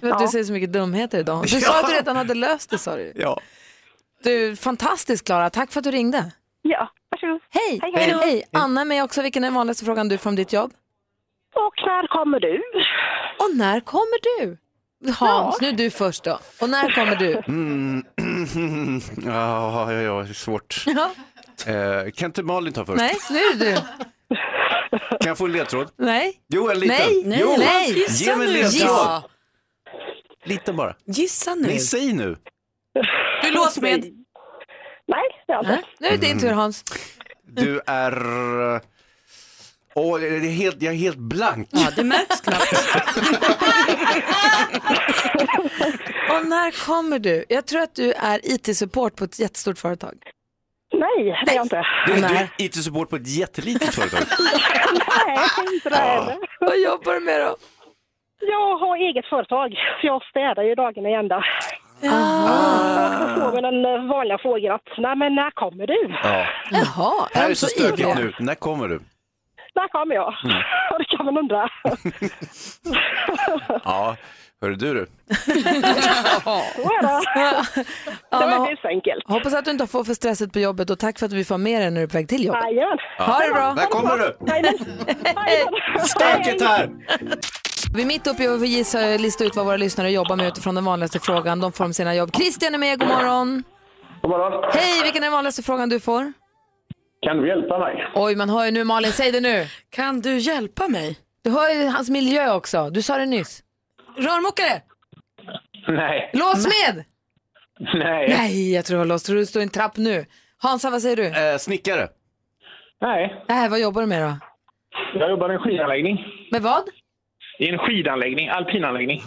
Speaker 1: För att Du säger så mycket dumheter idag. Du sa att du redan hade löst det sa du.
Speaker 3: Ja.
Speaker 1: Du, fantastiskt Klara, tack för att du ringde.
Speaker 14: Ja, varsågod.
Speaker 1: Hej!
Speaker 14: Hej, hej.
Speaker 1: Anna är med också, vilken är den vanligaste frågan du får om ditt jobb?
Speaker 14: Och när kommer du?
Speaker 1: Och när kommer du? Hans, nu är du först då. Och när kommer du?
Speaker 3: Mm. ja, ja, ja, det är svårt.
Speaker 1: Ja.
Speaker 3: Eh, kan inte Malin ta först?
Speaker 1: Nej, nu är det du.
Speaker 3: Kan jag få en ledtråd?
Speaker 1: Nej.
Speaker 3: Jo, en liten.
Speaker 1: Nej, nej,
Speaker 3: jo.
Speaker 1: nej.
Speaker 3: Ge
Speaker 1: Gissa
Speaker 3: mig en
Speaker 1: nu.
Speaker 3: ledtråd.
Speaker 1: Gissa.
Speaker 3: Liten bara.
Speaker 2: Gissa nu.
Speaker 3: Nej, säg nu.
Speaker 2: Du är låsmed.
Speaker 14: Nej, det har jag
Speaker 2: Äh?
Speaker 14: inte.
Speaker 1: Nu är det din tur Hans. Mm.
Speaker 3: Du är... eh, Åh, det är helt, jag är helt blank.
Speaker 2: Ja, det märks knappt.
Speaker 1: Och när kommer du? Jag tror att du är IT-support på ett jättestort företag.
Speaker 14: Nej, det har jag inte.
Speaker 3: Du, du
Speaker 1: Nej.
Speaker 3: är IT-support på ett jättelitet företag.
Speaker 14: Nej, inte det heller.
Speaker 1: Vad jobbar du med då?
Speaker 14: Jag har eget företag, så jag städar ju dagen i ända.
Speaker 15: Och då får vi den eh, vanliga frågan att, nej men när kommer du?
Speaker 3: Ja.
Speaker 1: Jaha,
Speaker 3: Här är
Speaker 15: öm
Speaker 3: så
Speaker 15: så
Speaker 3: stökigt
Speaker 15: illa.
Speaker 3: nu. När kommer du?
Speaker 15: När kommer jag?
Speaker 3: Mm.
Speaker 15: det kan man undra.
Speaker 3: Ja, hörru du du.
Speaker 15: Så är det. Det var
Speaker 1: så enkelt. Hoppas att du inte får för stresset på jobbet och tack för att vi får med dig när du är på väg till jobbet.
Speaker 15: Jajamän.
Speaker 1: Ha det bra.
Speaker 3: När kommer du?
Speaker 1: Stökigt
Speaker 3: här!
Speaker 1: Vi är mitt uppe i att gissa- lista ut vad våra lyssnare jobbar med utifrån den vanligaste frågan. De får om sina jobb. Christian är med, god morgon.
Speaker 16: God morgon.
Speaker 1: Hej, vilken är den vanligaste frågan du får?
Speaker 16: Kan du hjälpa mig?
Speaker 1: Oj, man hör ju nu Malin, säg det nu. Kan du hjälpa mig? Du hör ju hans miljö också, du sa det nyss. Rörmokare!
Speaker 16: Nej.
Speaker 1: Låsmed!
Speaker 16: Nej.
Speaker 1: Nej, jag tror jag har låst. Tror du det står i en trapp nu? Hansa, vad säger du?
Speaker 3: Eh, snickare.
Speaker 16: Nej.
Speaker 1: Nej, vad jobbar du med då?
Speaker 16: Jag jobbar i en skidanläggning.
Speaker 1: Med vad?
Speaker 16: I en skidanläggning, alpinanläggning.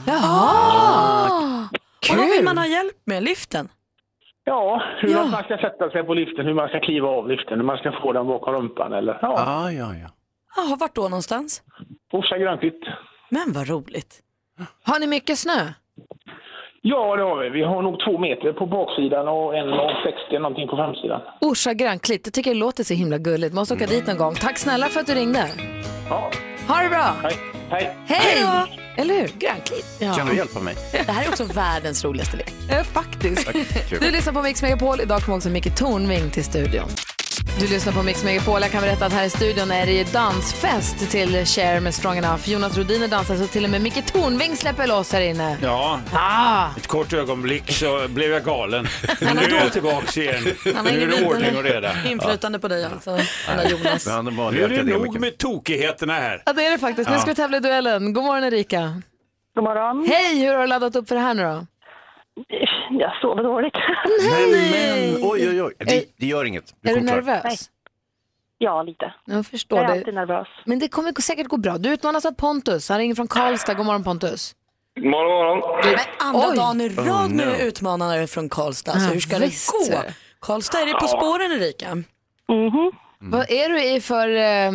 Speaker 2: Ah! Och vad vill man ha hjälp med? Liften?
Speaker 16: Ja, Hur man ska sätta sig på liften, hur man ska kliva av liften, hur man ska få den bakom rumpan eller... Ja,
Speaker 3: ah, ja, ja.
Speaker 2: Jaha, vart då någonstans?
Speaker 16: Orsa grönkvitt.
Speaker 2: Men vad roligt.
Speaker 1: Har ni mycket snö?
Speaker 16: Ja, det har vi. Vi har nog två meter på baksidan och en och 60 någonting på framsidan.
Speaker 1: Orsa grönklitt, jag tycker det låter så himla gulligt. Måste åka dit någon gång. Tack snälla för att du ringde.
Speaker 16: Ja.
Speaker 1: Ha det bra!
Speaker 16: Hej. Hej!
Speaker 1: Hej! Eller hur? Grönklitt.
Speaker 3: Kan du hjälpa mig?
Speaker 2: Det här är också världens roligaste lek.
Speaker 1: Eh, faktiskt.
Speaker 2: Tack, kul.
Speaker 1: Du lyssnar på Mix Megapol. Idag kommer också Micke Tornving till studion. Du lyssnar på Mix Megapol. Jag kan berätta att här i studion är det ju dansfest till Cher med Strong Enough. Jonas Rhodiner dansar så till och med Micke Tornving släpper loss här inne.
Speaker 17: Ja, ett kort ögonblick så blev jag galen. Men nu är jag tillbaka igen.
Speaker 2: Han har
Speaker 17: Nu är
Speaker 2: ingen
Speaker 17: det ordning och
Speaker 2: vidare
Speaker 17: reda.
Speaker 2: Inflytande på dig alltså, den där
Speaker 17: Nej.
Speaker 2: Jonas.
Speaker 17: Men han är vanlig
Speaker 2: Nu är det
Speaker 17: akademiker.
Speaker 2: nog
Speaker 17: med tokigheterna här.
Speaker 1: Ja, det är det faktiskt. Nu
Speaker 17: Ja.
Speaker 1: ska vi tävla i duellen. God morgon Erika.
Speaker 15: God morgon.
Speaker 1: Hej, hur har du laddat upp för det här nu då?
Speaker 15: Jag sover dåligt.
Speaker 3: Nej, men oj, oj, oj. Det, det gör inget.
Speaker 1: Är du
Speaker 3: kommer klara.
Speaker 1: nervös?
Speaker 15: Ja, lite.
Speaker 1: Jag förstår
Speaker 15: Jag är
Speaker 1: det.
Speaker 15: alltid nervös.
Speaker 1: Men det kommer säkert gå bra. Du utmanas av Pontus. Han ringer från Karlstad. God morgon Pontus.
Speaker 13: Morgon, morgon.
Speaker 2: Andra dagen i
Speaker 13: Oh,
Speaker 2: rad
Speaker 13: no.
Speaker 2: nu no. utmanare från Karlstad.
Speaker 1: Ja,
Speaker 2: så hur ska det
Speaker 1: visst.
Speaker 2: gå? Karlstad, är det På spåren Erika?
Speaker 15: Mhm.
Speaker 1: Vad är du i för eh,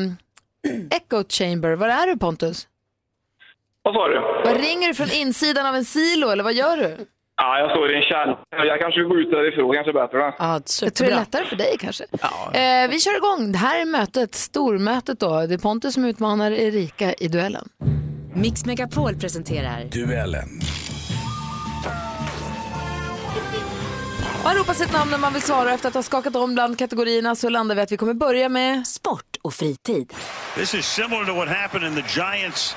Speaker 1: echo chamber? Var är du Pontus?
Speaker 13: Vad sa du?
Speaker 1: Vad ringer du från insidan av en silo eller vad gör du?
Speaker 13: Ja, jag står i en kärn. Jag kanske går ut därifrån, kanske bättre. va?
Speaker 1: Jag tror det är lättare för dig kanske.
Speaker 13: Ja.
Speaker 1: Eh, vi kör igång. Det här är mötet, stormötet då. Det är Pontus som utmanar Erika i duellen.
Speaker 11: Mix Megapol presenterar
Speaker 18: Duellen.
Speaker 1: Man ropar sitt namn när man vill svara efter att ha skakat om bland kategorierna så landar vi att vi kommer börja med sport och fritid.
Speaker 19: This is similar to what happened in the Giants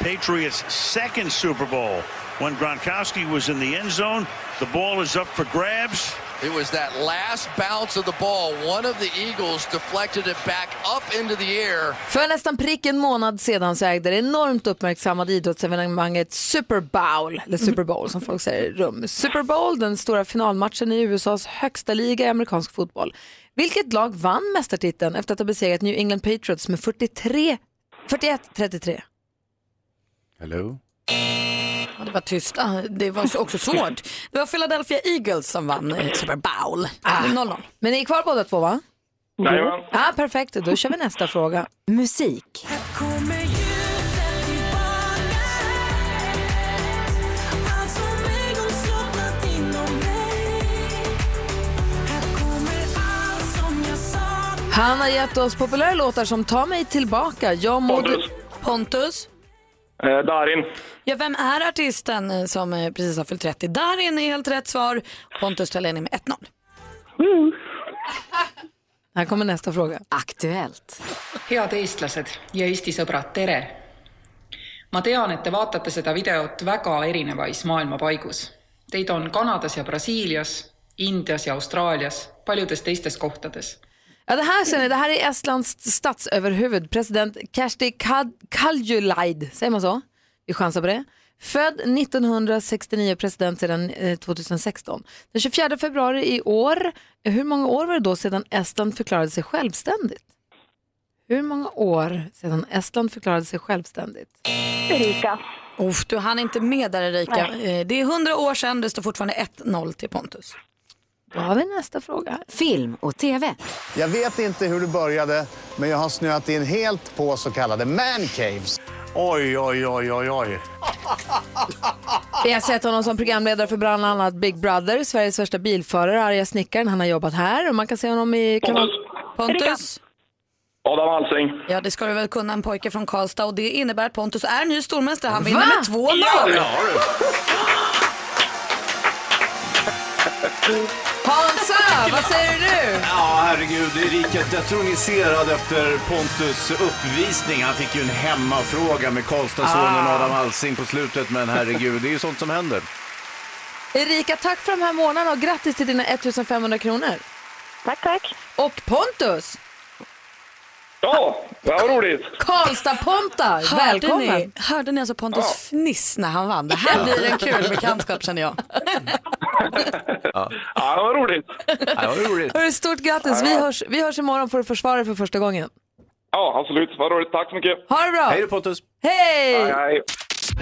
Speaker 19: Patriots second Super Bowl when Gronkowski was in the end zone. The ball is up for grabs.
Speaker 20: It was that last bounce of the ball. One of the Eagles deflected it back up into the air.
Speaker 1: För nästan prick en månad sedan så ägde det enormt uppmärksammade idrottsevenemanget Super Bowl, eller
Speaker 2: Mhm.
Speaker 1: Super Bowl som folk säger, rum. Super Bowl, den stora finalmatchen i USAs högsta liga i amerikansk fotboll. Vilket lag vann mästartiteln efter att ha besegrat New England Patriots med 43, 41-33?
Speaker 3: Hello?
Speaker 2: Ja, det var tyst. Ah, Det var så- också svårt. Det var Philadelphia Eagles som vann eh, Super Bowl. 0-0.
Speaker 1: Ah. Men ni är kvar båda två va?
Speaker 2: Jajamän.
Speaker 1: Ja, perfekt, då kör vi nästa fråga. Musik. Han har gett oss populära låtar som Ta mig tillbaka, Jag må...
Speaker 2: Pontus. Pontus.
Speaker 13: Eh, Darin.
Speaker 2: Ja, vem är artisten eh, som eh, precis har fyllt 30? Darin är helt rätt svar. Pontus tar ledning med 1-0.
Speaker 1: Här kommer nästa fråga.
Speaker 11: Aktuellt.
Speaker 6: head eestlased ja Eesti sõbrad , tere! ma tean , et te vaatate seda videot väga erinevais maailmapaigus . Teid on Kanadas ja Brasiilias , Indias ja Austraalias , paljudes teistes kohtades .
Speaker 1: Ja, det, här ser ni, det här är Estlands statsöverhuvud, president Kersti Kad- Kaljulaid. Säger man så? Vi chansar på det. Född 1969, president sedan eh, 2016. Den 24 februari i år, eh, hur många år var det då sedan Estland förklarade sig självständigt? Hur många år sedan Estland förklarade sig självständigt?
Speaker 2: Erika. Uff, du hann inte med där Erika. Eh, Det är 100 år sedan, det står fortfarande 1-0 till Pontus.
Speaker 1: Då har vi nästa fråga.
Speaker 11: Film och TV.
Speaker 5: Jag vet inte hur det började, men jag har snöat in helt på så kallade mancaves. Oj, oj, oj, oj, oj.
Speaker 1: Vi har sett honom som programledare för bland annat Big Brother, Sveriges värsta bilförare, arga snickaren. Han har jobbat här och man kan se honom i kanal... Pontus.
Speaker 7: Adam Alsing.
Speaker 2: Ja, det ska du väl kunna, en pojke från Karlstad. Och det innebär att Pontus är ny stormästare. Han vinner
Speaker 1: Va?
Speaker 2: med 2-0.
Speaker 1: Hansa, vad säger du?
Speaker 3: Ja, herregud, det är riket. Jag tror ni ser efter Pontus uppvisning. Han fick ju en hemmafråga med Karlstadssonen
Speaker 1: Ah.
Speaker 3: Adam Alsing på slutet. Men herregud, det är ju sånt som händer.
Speaker 1: Erika, tack för de här månaderna och grattis till dina 1500 kronor. Tack, tack. Och Pontus,
Speaker 7: Ja, vad roligt.
Speaker 1: Karlstad-Ponta,
Speaker 2: Hörde
Speaker 1: välkommen.
Speaker 2: ni, hörde ni alltså Pontus fniss när han vann? Det här
Speaker 7: Ja.
Speaker 2: blir en kul bekantskap känner jag.
Speaker 7: Ja, vad roligt.
Speaker 3: Ja, vad roligt.
Speaker 1: Hörru, stort grattis. Vi hörs, vi hörs imorgon för att försvara dig för första gången.
Speaker 7: Ja, absolut. Vad roligt. Tack så mycket.
Speaker 1: Ha det bra.
Speaker 7: Hej
Speaker 1: Hej
Speaker 7: då,
Speaker 1: då,
Speaker 3: Pontus.
Speaker 1: Hej!
Speaker 7: Hej, hej.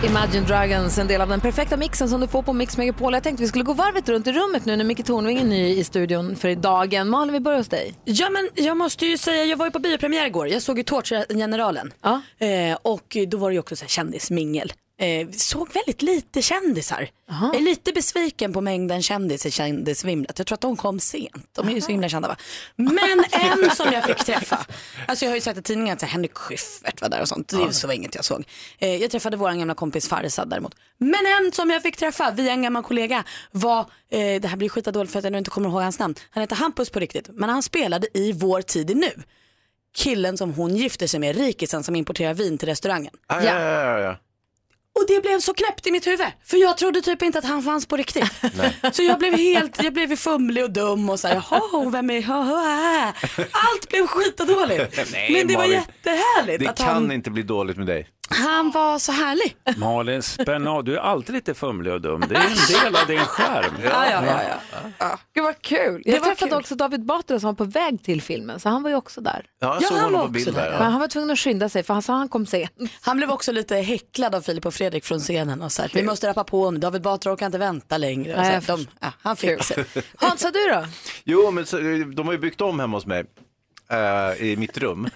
Speaker 1: Imagine Dragons, en del av den perfekta mixen som du får på Mix Megapol. Jag tänkte vi skulle gå varvet runt i rummet nu när Micke Tornving är ny i studion för dagen. Malin, vi börjar hos dig.
Speaker 2: Ja men jag måste ju säga, jag var ju på biopremiär igår. Jag såg ju Tårtgeneralen. Eh, och då var det ju också så här kändismingel. Eh, vi såg väldigt lite kändisar. Jag är lite besviken på mängden kändis i kändisvimlet. Jag tror att de kom sent. De är ju så himla kända va. Men en som jag fick träffa. Alltså jag har ju sett i tidningen att så här, Henrik Schyffert var där och sånt. Det
Speaker 21: Ja.
Speaker 2: så var inget jag såg. Eh, jag träffade vår gamla kompis Farzad däremot. Men en som jag fick träffa via en gammal kollega var, eh, det här blir skitdåligt för att jag nu inte kommer ihåg hans namn. Han heter Hampus på riktigt, men han spelade i Vår tid är nu. Killen som hon gifter sig med, rikisen som importerar vin till restaurangen.
Speaker 3: Ah, Ja, ja, ja, ja.
Speaker 2: Och det blev så knäppt i mitt huvud. För jag trodde typ inte att han fanns på riktigt. Så jag blev helt, jag blev fumlig och dum och så här, jaha, vem är, haha. Allt blev skitdåligt.
Speaker 3: Nej,
Speaker 2: Men det var
Speaker 3: Malin.
Speaker 2: jättehärligt
Speaker 3: Det
Speaker 2: att
Speaker 3: kan
Speaker 2: han,
Speaker 3: inte bli dåligt med dig.
Speaker 2: han var så härlig.
Speaker 3: Malin, spänn av. Du är alltid lite fumlig och dum. Det är en del av din charm.
Speaker 1: Ja, ja, ja, ja. Gud vad kul.
Speaker 2: Det
Speaker 1: Jag
Speaker 2: var
Speaker 1: träffade också David Batra som var på väg till filmen, så han var ju också där.
Speaker 3: Ja, jag såg honom på bild där, ja.
Speaker 1: Men han var tvungen att skynda sig för han sa han kom sent.
Speaker 2: Han blev också lite häcklad av Filip och Fredrik från scenen och så här, vi måste rappa på nu, David Batra orkar inte vänta längre. Och så
Speaker 1: Nej,
Speaker 2: här,
Speaker 1: jag
Speaker 2: de, ja, han fick sig.
Speaker 1: Hansa, du då?
Speaker 3: Jo, men så, eh, de har ju byggt om hemma hos mig. eh, I mitt rum.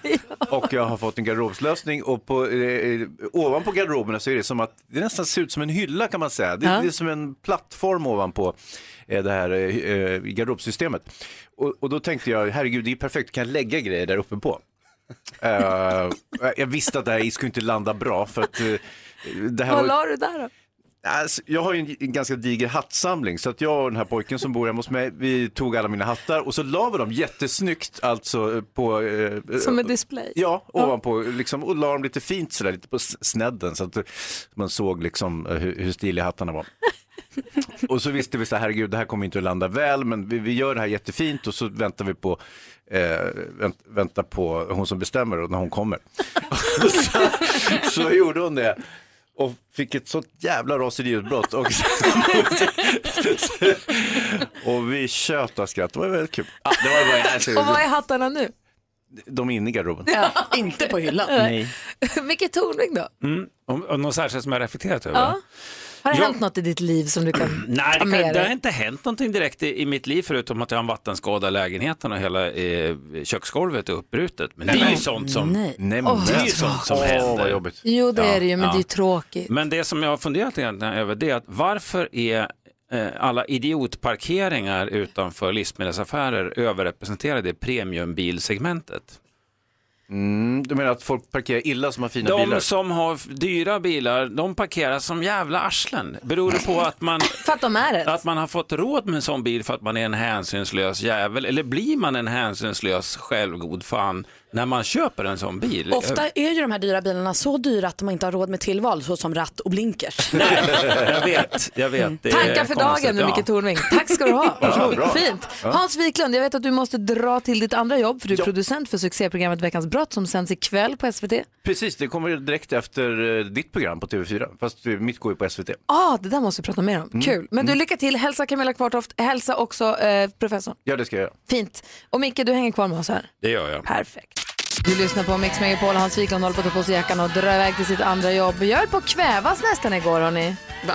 Speaker 3: Och jag har fått en garderobslösning och på, eh, ovanpå garderoberna så är det som att det nästan ser ut som en hylla kan man säga. Det,
Speaker 22: Ja.
Speaker 3: det är som en plattform ovanpå eh, det här eh, garderobsystemet. Och, och då tänkte jag, herregud det är ju perfekt, kan jag lägga grejer där uppe på. Eh, jag visste att det här skulle inte landa bra för att eh, det här
Speaker 1: Vad
Speaker 3: var-
Speaker 1: la du där då?
Speaker 3: Alltså, jag har ju en, en ganska diger hattsamling så att jag och den här pojken som bor hemma hos mig, vi tog alla mina hattar och så la vi dem jättesnyggt alltså på... eh,
Speaker 1: Som en
Speaker 3: eh,
Speaker 1: display?
Speaker 3: Ja, ovanpå liksom, och la dem lite fint sådär, lite på s- snedden så att man såg liksom eh, hur, hur stiliga hattarna var. Och så visste vi så här, herregud, det här kommer inte att landa väl, men vi, vi gör det här jättefint och så väntar vi på, eh, vänt, väntar på hon som bestämmer och när hon kommer. så, så gjorde hon det och fick ett sånt jävla raseriutbrott. Och, och vi tjöt av skratt, det var väldigt kul. Ah, det var bara, alltså,
Speaker 1: Och vad är hattarna nu?
Speaker 3: de är inne i garderoben.
Speaker 2: inte på hyllan.
Speaker 3: Nej.
Speaker 1: Micke Tornving då?
Speaker 23: Mm. Om, om något särskilt som jag reflekterat över?
Speaker 1: Ja. Har det
Speaker 23: Ja.
Speaker 1: hänt något i ditt liv som du kan
Speaker 23: Nej,
Speaker 1: ta
Speaker 23: det, kan,
Speaker 1: med
Speaker 23: det har
Speaker 1: dig?
Speaker 23: inte hänt någonting direkt i, i mitt liv förutom att jag har en vattenskada i lägenheten och hela eh, köksgolvet är uppbrutet. Men det är ju sånt som,
Speaker 1: Nej.
Speaker 23: Nej, men
Speaker 1: Åh,
Speaker 23: det är ju
Speaker 1: vad
Speaker 23: sånt som
Speaker 1: tråkigt.
Speaker 23: händer.
Speaker 1: Åh, vad jobbigt. Jo, det är det ju, men
Speaker 23: Ja.
Speaker 1: det är ju tråkigt.
Speaker 23: Men det som jag har funderat egentligen över det är att varför är eh, alla idiotparkeringar utanför livsmedelsaffärer överrepresenterade i premiumbilsegmentet?
Speaker 3: Mm, du menar att folk parkerar illa som har fina
Speaker 23: de
Speaker 3: bilar?
Speaker 23: som har f- dyra bilar, de parkerar som jävla arslen. Beror det på att man,
Speaker 1: För att de är det?
Speaker 23: att man har fått råd med en sån bil för att man är en hänsynslös jävel? Eller blir man en hänsynslös självgod fan när man köper en sån bil?
Speaker 2: Ofta är ju de här dyra bilarna så dyra att de inte har råd med tillval såsom ratt och blinkers.
Speaker 23: jag vet, jag vet. Det är
Speaker 1: Tankar för dagen
Speaker 23: konstigt,
Speaker 1: med
Speaker 23: ja.
Speaker 1: Micke Tornving. Tack ska du ha.
Speaker 23: Ja, bra.
Speaker 1: Fint.
Speaker 23: Ja.
Speaker 1: Hans Wiklund, jag vet att du måste dra till ditt andra jobb för du är producent för succéprogrammet Veckans brott som sänds ikväll på SVT.
Speaker 3: Precis, det kommer direkt efter eh, ditt program på TV4, fast eh, mitt går ju på SVT.
Speaker 1: Ah, det där måste vi prata mer
Speaker 2: Mm.
Speaker 1: om. Kul. Men du, lycka till. Hälsa Camilla Kvartoft. Hälsa också eh, professorn.
Speaker 3: Ja, det ska jag göra.
Speaker 1: Fint. Och Micke, du hänger kvar med oss här.
Speaker 23: Det gör jag.
Speaker 1: Perfekt. Du lyssnar på Mix Megapol. Hans Wiklund håller på att ta på sig jackan och dra iväg till sitt andra jobb. Jag höll på att kvävas nästan igår, hörni. Va?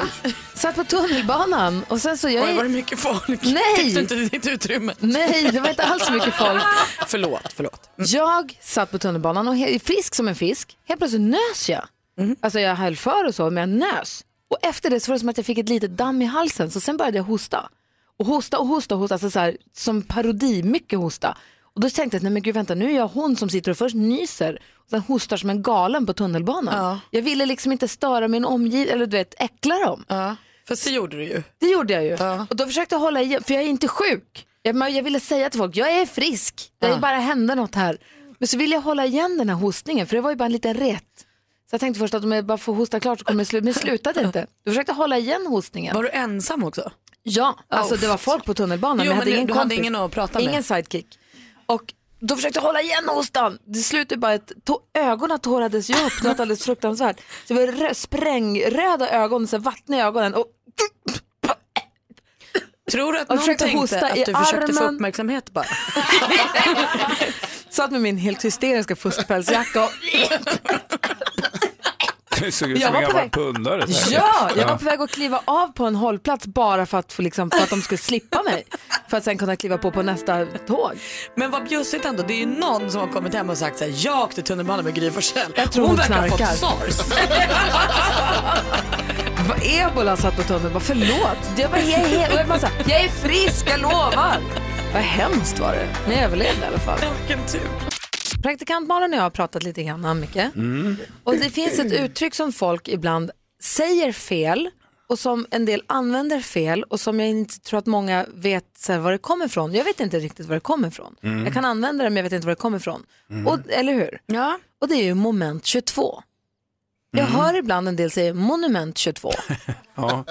Speaker 1: Satt på tunnelbanan och sen så... Jag...
Speaker 2: Oj, var det mycket folk?
Speaker 1: Nej!
Speaker 2: Fick du inte ditt utrymme?
Speaker 1: Nej, det var inte alls mycket folk.
Speaker 2: förlåt, förlåt.
Speaker 1: Jag satt på tunnelbanan och he- frisk som en fisk. Helt plötsligt nös jag. Alltså jag höll för och så, men jag nös. Och efter det så var det som att jag fick ett litet damm i halsen, så sen började jag hosta. Och hosta och hosta och hosta, alltså så här, som parodi, mycket hosta. Och då tänkte jag, nej men gud vänta, nu är jag hon som sitter och först nyser, och sen hostar som en galen på tunnelbanan. Jag ville liksom inte störa min omgivning, eller du vet, äckla dem.
Speaker 2: Fast det gjorde du ju.
Speaker 1: Det gjorde jag ju. Och då försökte jag hålla igen, för jag är inte sjuk. Jag, men jag ville säga till folk, jag är frisk, det
Speaker 2: Ja.
Speaker 1: bara hände något här. Men så ville jag hålla igen den här hostningen, för det var ju bara en liten ret. Så jag tänkte först att om jag bara får hosta klart så kommer det sluta, men det slutade inte. Du försökte hålla igen hostningen.
Speaker 2: Var du ensam också? Oh.
Speaker 1: Ja, alltså det var folk på tunnelbanan,
Speaker 2: Jo,
Speaker 1: men jag hade
Speaker 2: men
Speaker 1: ingen
Speaker 2: du hade
Speaker 1: kompis.
Speaker 2: ingen att prata med.
Speaker 1: Ingen sidekick. Och då försökte jag hålla igen hostan. Det slutade bara att to- ögonen tårades ju upp, något alldeles fruktansvärt. Så det var rö- sprängröda ögon, så här vattniga ögonen. Och
Speaker 2: Tror du att
Speaker 1: Jag
Speaker 2: någon
Speaker 1: försökte
Speaker 2: tänkte
Speaker 1: hosta
Speaker 2: att
Speaker 1: i
Speaker 2: du försökte få
Speaker 1: armen.
Speaker 2: uppmärksamhet bara?
Speaker 1: satt med min helt hysteriska fuskpälsjacka och
Speaker 23: Du såg ut
Speaker 1: Jag
Speaker 23: som en
Speaker 1: var på
Speaker 23: gammal
Speaker 1: väg-
Speaker 23: pundare. så här.
Speaker 1: Ja, jag var på väg att kliva av på en hållplats bara för att, få liksom, för att de skulle slippa mig. För att sen kunna kliva på på nästa tåg.
Speaker 2: Men vad bjussigt ändå, det är ju någon som har kommit hem och sagt så här, jag åkte tunnelbana med Gry Forssell.
Speaker 1: Jag tror hon
Speaker 2: verkar ha
Speaker 1: knarkar.
Speaker 2: fått sars.
Speaker 1: Vad Ebola satt på tunneln bara förlåt. Jag, bara, jag, är, he- och jag, bara, så här, jag är frisk, jag lovar. Vad hemskt var det. Men jag överlevde i alla fall.
Speaker 2: Vilken tur.
Speaker 1: Praktikant Malin och jag har pratat lite grann om mycket.
Speaker 4: Mm.
Speaker 1: Och det finns ett uttryck som folk ibland säger fel och som en del använder fel och som jag inte tror att många vet så här, var det kommer ifrån. Jag vet inte riktigt var det kommer ifrån.
Speaker 4: Mm.
Speaker 1: Jag kan använda det men jag vet inte var det kommer ifrån.
Speaker 4: Mm.
Speaker 1: Och, eller hur?
Speaker 2: Ja.
Speaker 1: Och det är ju moment 22. Jag hör ibland en del säga monument 22.
Speaker 23: Ja,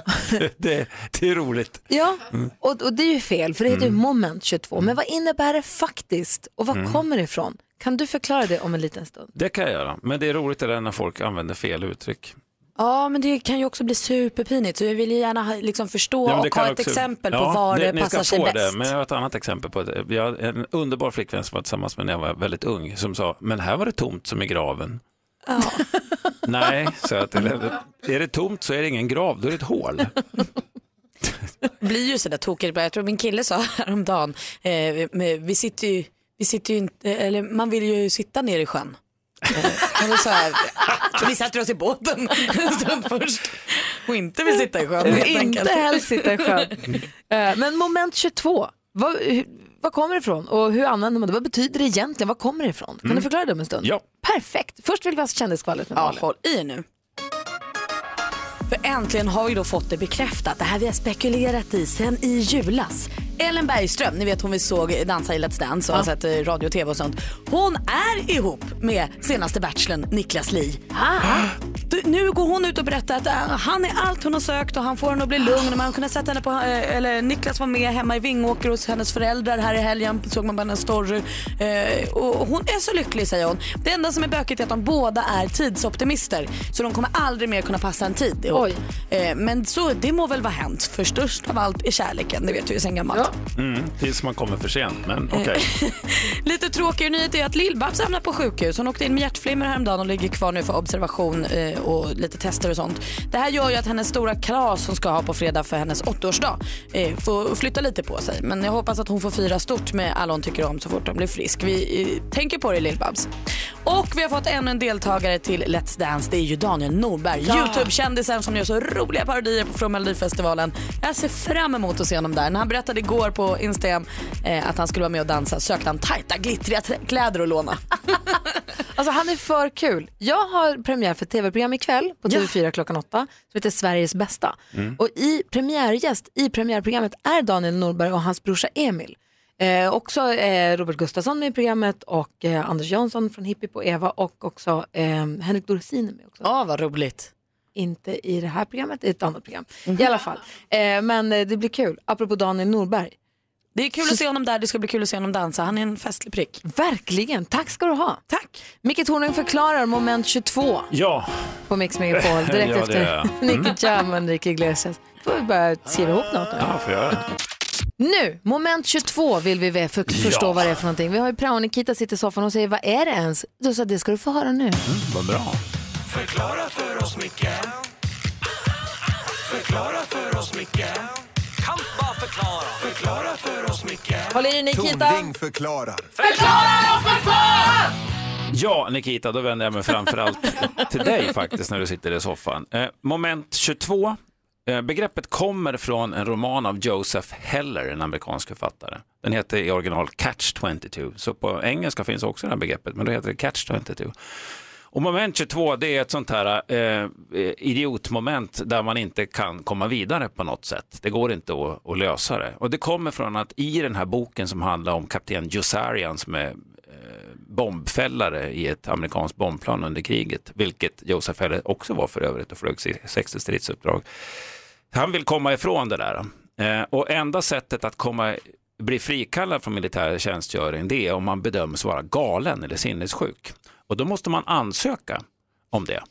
Speaker 23: det, det är roligt.
Speaker 1: ja, och, och det är ju fel för det heter ju
Speaker 23: Mm.
Speaker 1: moment 22. Men vad innebär det faktiskt och var
Speaker 23: Mm.
Speaker 1: kommer det ifrån? Kan du förklara det om en liten stund?
Speaker 23: Det kan jag göra, men det är roligt det där när folk använder fel uttryck.
Speaker 2: Ja, men det kan ju också bli superpinigt så jag vill ju gärna ha- liksom förstå
Speaker 23: Ja, men det
Speaker 2: och
Speaker 23: kan
Speaker 2: ha ett
Speaker 23: också-
Speaker 2: exempel på
Speaker 23: Ja,
Speaker 2: var
Speaker 23: ni-
Speaker 2: det,
Speaker 23: ni
Speaker 2: passar
Speaker 23: ska
Speaker 2: sig
Speaker 23: få
Speaker 2: bäst.
Speaker 23: Det, men jag har ett annat exempel på det. Jag hade en underbar flickvän som var tillsammans med när jag var väldigt ung som sa, men här var det tomt som i graven. Nej, så att, eller, är det tomt så är det ingen grav, då är det ett hål.
Speaker 2: blir ju sådär tokigt. ibland. Jag tror min kille sa häromdagen, eh, vi, vi sitter ju, vi sitter ju inte, eller man vill ju sitta ner i sjön. Eh, och då sa jag, vi sätter oss i båten en stund först och inte vill sitta i sjön helt enkelt.
Speaker 1: Inte helst sitta i sjön. Eh, Men moment 22, vad, hur- vad kommer det ifrån och hur använder man det? Vad betyder det egentligen? Vad kommer det ifrån? Kan
Speaker 2: Mm.
Speaker 1: du förklara det om en stund?
Speaker 2: Ja.
Speaker 1: Perfekt. Först vill vi ha kändisskvallret med
Speaker 2: Ja,
Speaker 1: Malin.
Speaker 2: håll i er nu. För äntligen har vi då fått det bekräftat, det här vi har spekulerat i sen i julas. Ellen Bergström, ni vet hon vi såg dansa i Let's Dance och har sett eh, radio och tv och sånt. Hon är ihop med senaste bachelorn Niklas Li.
Speaker 1: Ah.
Speaker 2: Du, Nu går hon ut och berättar att eh, han är allt hon har sökt och han får henne att bli lugn. Man kunde sett henne på, eh, eller Niklas var med hemma i Vingåker hos hennes föräldrar här i helgen, såg man på hennes story. Eh, Och hon är så lycklig säger hon. Det enda som är bökigt är att de båda är tidsoptimister så de kommer aldrig mer kunna passa en tid ihop. Eh, Men så det må väl vara hänt, för störst av allt är kärleken, det vet vi ju sen gammalt.
Speaker 23: Mm, tills man kommer för sent, men
Speaker 2: Eh.
Speaker 23: okej.
Speaker 2: Lite tråkigare nyhet är att Lill-Babs hamnar på sjukhus. Hon åkte in med hjärtflimmer häromdagen och ligger kvar nu för observation eh, och lite tester och sånt. Det här gör ju att hennes stora kalas hon ska ha på fredag för hennes åttaårsdag eh, får flytta lite på sig. Men jag hoppas att hon får fira stort med alla hon tycker om så fort hon blir frisk. Vi eh, tänker på dig Lill-Babs. Och vi har fått ännu en deltagare till Let's Dance. Det är ju Daniel Norberg,
Speaker 4: Ja.
Speaker 2: Youtube-kändisen som gör så roliga parodier på från Melodifestivalen. Jag ser fram emot att se honom där. När han berättade igår på Instagram eh, att han skulle vara med och dansa sökte han tajta glittriga t- kläder att låna.
Speaker 1: Alltså han är för kul. Jag har premiär för ett tv-program ikväll på TV4 klockan åtta som heter Sveriges bästa.
Speaker 4: Mm.
Speaker 1: Och i premiärgäst i premiärprogrammet är Daniel Norberg och hans brorsa Emil. Eh, också eh, Robert Gustafsson med i programmet och eh, Anders Jansson från Hippie på Eva och också eh, Henrik Dorsin är med också.
Speaker 2: Ja, vad roligt. Mhm.
Speaker 1: Inte i det här programmet, i ett annat program. I alla fall. Eh, men eh, det blir kul, apropå Daniel Norberg.
Speaker 2: Det är kul att se honom där, det ska bli kul att se honom dansa. Han är en festlig prick.
Speaker 1: Verkligen, tack ska du ha.
Speaker 2: Tack.
Speaker 1: Micke Tornving förklarar moment 22.
Speaker 23: Ja.
Speaker 1: på Mix Megapol direkt
Speaker 23: Ja, det gör
Speaker 1: efter
Speaker 23: jag. Mm.
Speaker 1: Nicky Jam och Enrique Iglesias. får vi börja skriva ihop något nu.
Speaker 23: Ja, får jag göra det?
Speaker 1: Nu, moment 22 vill vi ve- för- förstå
Speaker 23: Ja.
Speaker 1: vad det är för någonting. Vi har ju prao Nikita sitter i soffan och säger vad är det ens? Då sa jag, det ska du få höra nu.
Speaker 23: Vad bra.
Speaker 4: Förklara för oss, Micke Förklara för oss, Micke Kan bara förklara Förklara för oss, Micke
Speaker 1: Håll i dig, Nikita.
Speaker 12: Tornving förklarar.
Speaker 4: Förklara oss, förklara!
Speaker 23: Ja, Nikita, då vänder jag mig framförallt till dig faktiskt när du sitter i soffan. Eh, moment 22. Eh, begreppet kommer från en roman av Joseph Heller, en amerikansk författare. Den heter i original Catch 22, så på engelska finns också det här begreppet, men då heter det Catch 22. Och moment 22, det är ett sånt här eh, idiotmoment där man inte kan komma vidare på något sätt. Det går inte att, att lösa det. Och det kommer från att i den här boken som handlar om kapten Jussarian som är bombfällare i ett amerikanskt bombplan under kriget, vilket Joseph Heller också var för övrigt och flög 60 stridsuppdrag. Han vill komma ifrån det där. Eh, Och enda sättet att komma, bli frikallad från militär tjänstgöring det är om man bedöms vara galen eller sinnessjuk. Och då måste man ansöka om det.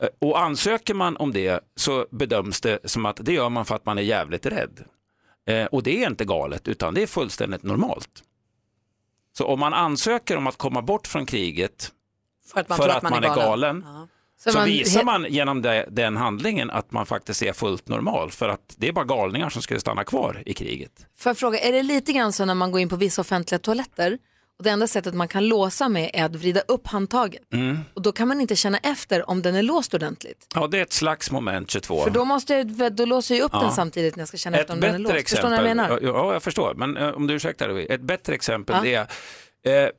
Speaker 23: Eh, Och ansöker man om det så bedöms det som att det gör man för att man är jävligt rädd. Eh, Och det är inte galet utan det är fullständigt normalt. Så om man ansöker om att komma bort från kriget
Speaker 2: För att man
Speaker 23: för
Speaker 2: tror
Speaker 23: att man, är galen,
Speaker 1: Så
Speaker 23: så,
Speaker 1: man-
Speaker 23: visar man genom det, den handlingen att man faktiskt är fullt normal för att det är bara galningar som skulle stanna kvar i kriget.
Speaker 1: Får jag fråga, är det lite grann så när man går in på vissa offentliga toaletter och det enda sättet man kan låsa med är att vrida upp handtaget
Speaker 23: Mm.
Speaker 1: och då kan man inte känna efter om den är låst ordentligt.
Speaker 23: Ja, det är ett slags moment 22.
Speaker 1: För då, måste jag, då låser jag upp
Speaker 23: Ja.
Speaker 1: den samtidigt när jag ska känna
Speaker 15: Ett
Speaker 1: efter om den är låst.
Speaker 15: bättre
Speaker 1: Förstår ni vad jag menar?
Speaker 23: Ja, ja, jag förstår. Men eh, om du ursäktar, Lovi, ett bättre exempel
Speaker 1: Ja.
Speaker 23: det är eh,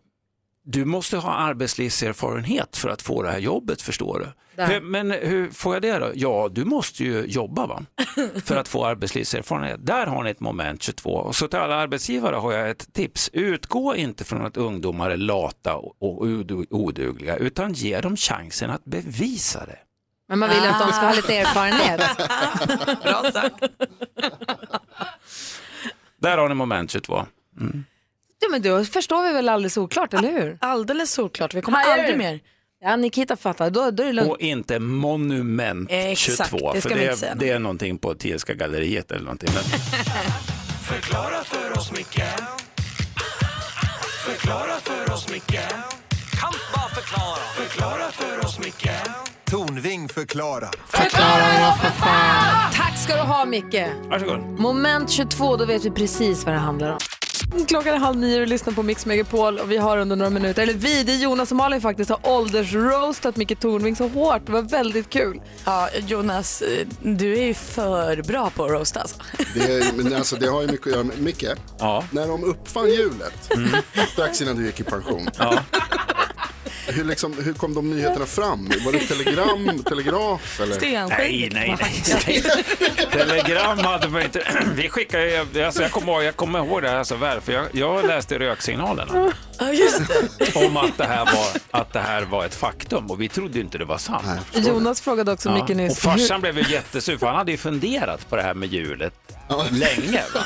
Speaker 23: du måste ha arbetslivserfarenhet för att få det här jobbet, förstår du.
Speaker 24: Där.
Speaker 23: Hur, men eh, hur får jag det då? Ja, du måste ju jobba va? för att få arbetslivserfarenhet. Där har ni ett moment 22. Och så till alla arbetsgivare har jag ett tips. Utgå inte från att ungdomar är lata och odu- odugliga, utan ge dem chansen att bevisa det.
Speaker 1: Men man vill ju att de ska ha lite erfarenhet.
Speaker 23: Där har ni moment 22.
Speaker 1: Ja, men då förstår vi väl alldeles oklart, eller hur?
Speaker 2: Alldeles oklart, vi kommer aldrig mer.
Speaker 1: Ja, Nikita fattar, då, då är det lugnt.
Speaker 23: Och inte monument
Speaker 1: Exakt,
Speaker 23: 22,
Speaker 1: det ska
Speaker 23: för
Speaker 1: vi
Speaker 23: det,
Speaker 1: inte säga.
Speaker 23: är, det är någonting på Thielska galleriet eller någonting. Men
Speaker 4: Förklara för oss, Micke Förklara för oss, Micke Kan bara förklara Förklara för oss, Micke
Speaker 12: Tornving förklarar.
Speaker 1: Tack ska du ha, Micke.
Speaker 23: Varsågod.
Speaker 1: Moment 22, då vet vi precis vad det handlar om. Klockan är halv nio och du lyssnar på Mix Megapol och vi har under några minuter, eller vi, det är Jonas och Malin faktiskt, har åldersroastat Micke Tornving så hårt. Det var väldigt kul.
Speaker 2: Ja, Jonas, eh, du är ju för bra på att roasta alltså.
Speaker 10: Det, är, men alltså, det har ju mycket att göra med Micke. När de uppfann hjulet, strax innan du gick i pension. Hur, liksom, hur kom de nyheterna fram? Var det telegram, telegraf eller?
Speaker 23: Nej, nej, nej. Telegram hade man inte. Vi skickade ju, alltså jag kommer ihåg, jag kommer ihåg det här så väl, för jag, jag läste röksignalerna
Speaker 2: Ja, just
Speaker 23: om att det, här var, att det här var ett faktum och vi trodde ju inte det var sant.
Speaker 1: Jonas frågade också Micke nyss.
Speaker 23: Och farsan blev ju jättesur för han hade ju funderat på det här med hjulet länge. Va?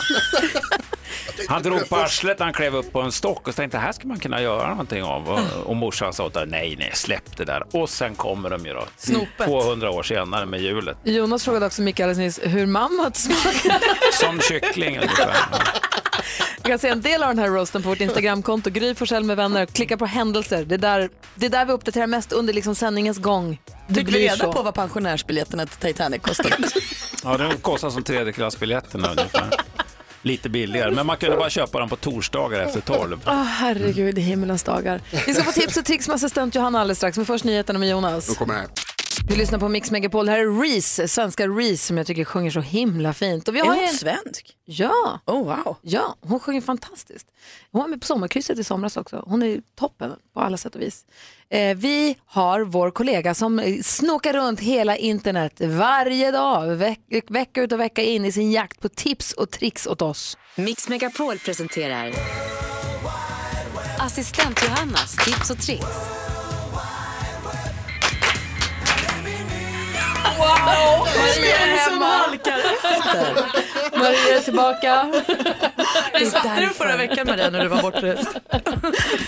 Speaker 23: Han drog på arslet, han klev upp på en stock och tänkte här ska man kunna göra någonting av. Och, och morsan sa åt honom, nej, nej, släpp det där. Och sen kommer de ju då,
Speaker 1: Snopet.
Speaker 23: 200 år senare med hjulet.
Speaker 1: hur, Jonas frågade också Micke alldeles nyss hur mammut smakar.
Speaker 23: Som kyckling ungefär.
Speaker 1: Jag kan se en del av den här roasten på vårt Instagramkonto, Gry Forssell med vänner. Klicka på händelser. Det är där, det är där vi uppdaterar mest under liksom sändningens gång. Det
Speaker 2: Fick vi
Speaker 1: blir
Speaker 2: reda
Speaker 1: så.
Speaker 2: på vad pensionärsbiljetterna till Titanic kostade?
Speaker 23: Ja, de kostar som tredjeklassbiljetterna ungefär. Lite billigare, men man kunde bara köpa dem på torsdagar efter tolv.
Speaker 1: Åh herregud, i himmelens dagar. Vi ska få tips och tricks med assistent Johanna alldeles strax, men först nyheterna med Jonas.
Speaker 10: De kommer här.
Speaker 1: Du lyssnar på Mix Megapol, här är Reese, svenska Reese som jag tycker sjunger så himla fint. Och vi
Speaker 2: Är
Speaker 1: har
Speaker 2: hon
Speaker 1: en...
Speaker 2: svensk?
Speaker 1: Ja.
Speaker 2: Oh, wow.
Speaker 1: ja, hon sjunger fantastiskt. Hon var med på sommarkrysset i somras också. Hon är toppen på alla sätt och vis. Eh, vi har vår kollega som eh, snokar runt hela internet varje dag, veck- vecka ut och vecka in i sin jakt på tips och tricks åt oss.
Speaker 11: Mix Megapol presenterar Assistent Johannas tips och tricks.
Speaker 1: Wow!
Speaker 2: Maria är hemma.
Speaker 1: Maria är tillbaka.
Speaker 2: Vi satte du förra veckan Maria när du var bortrest.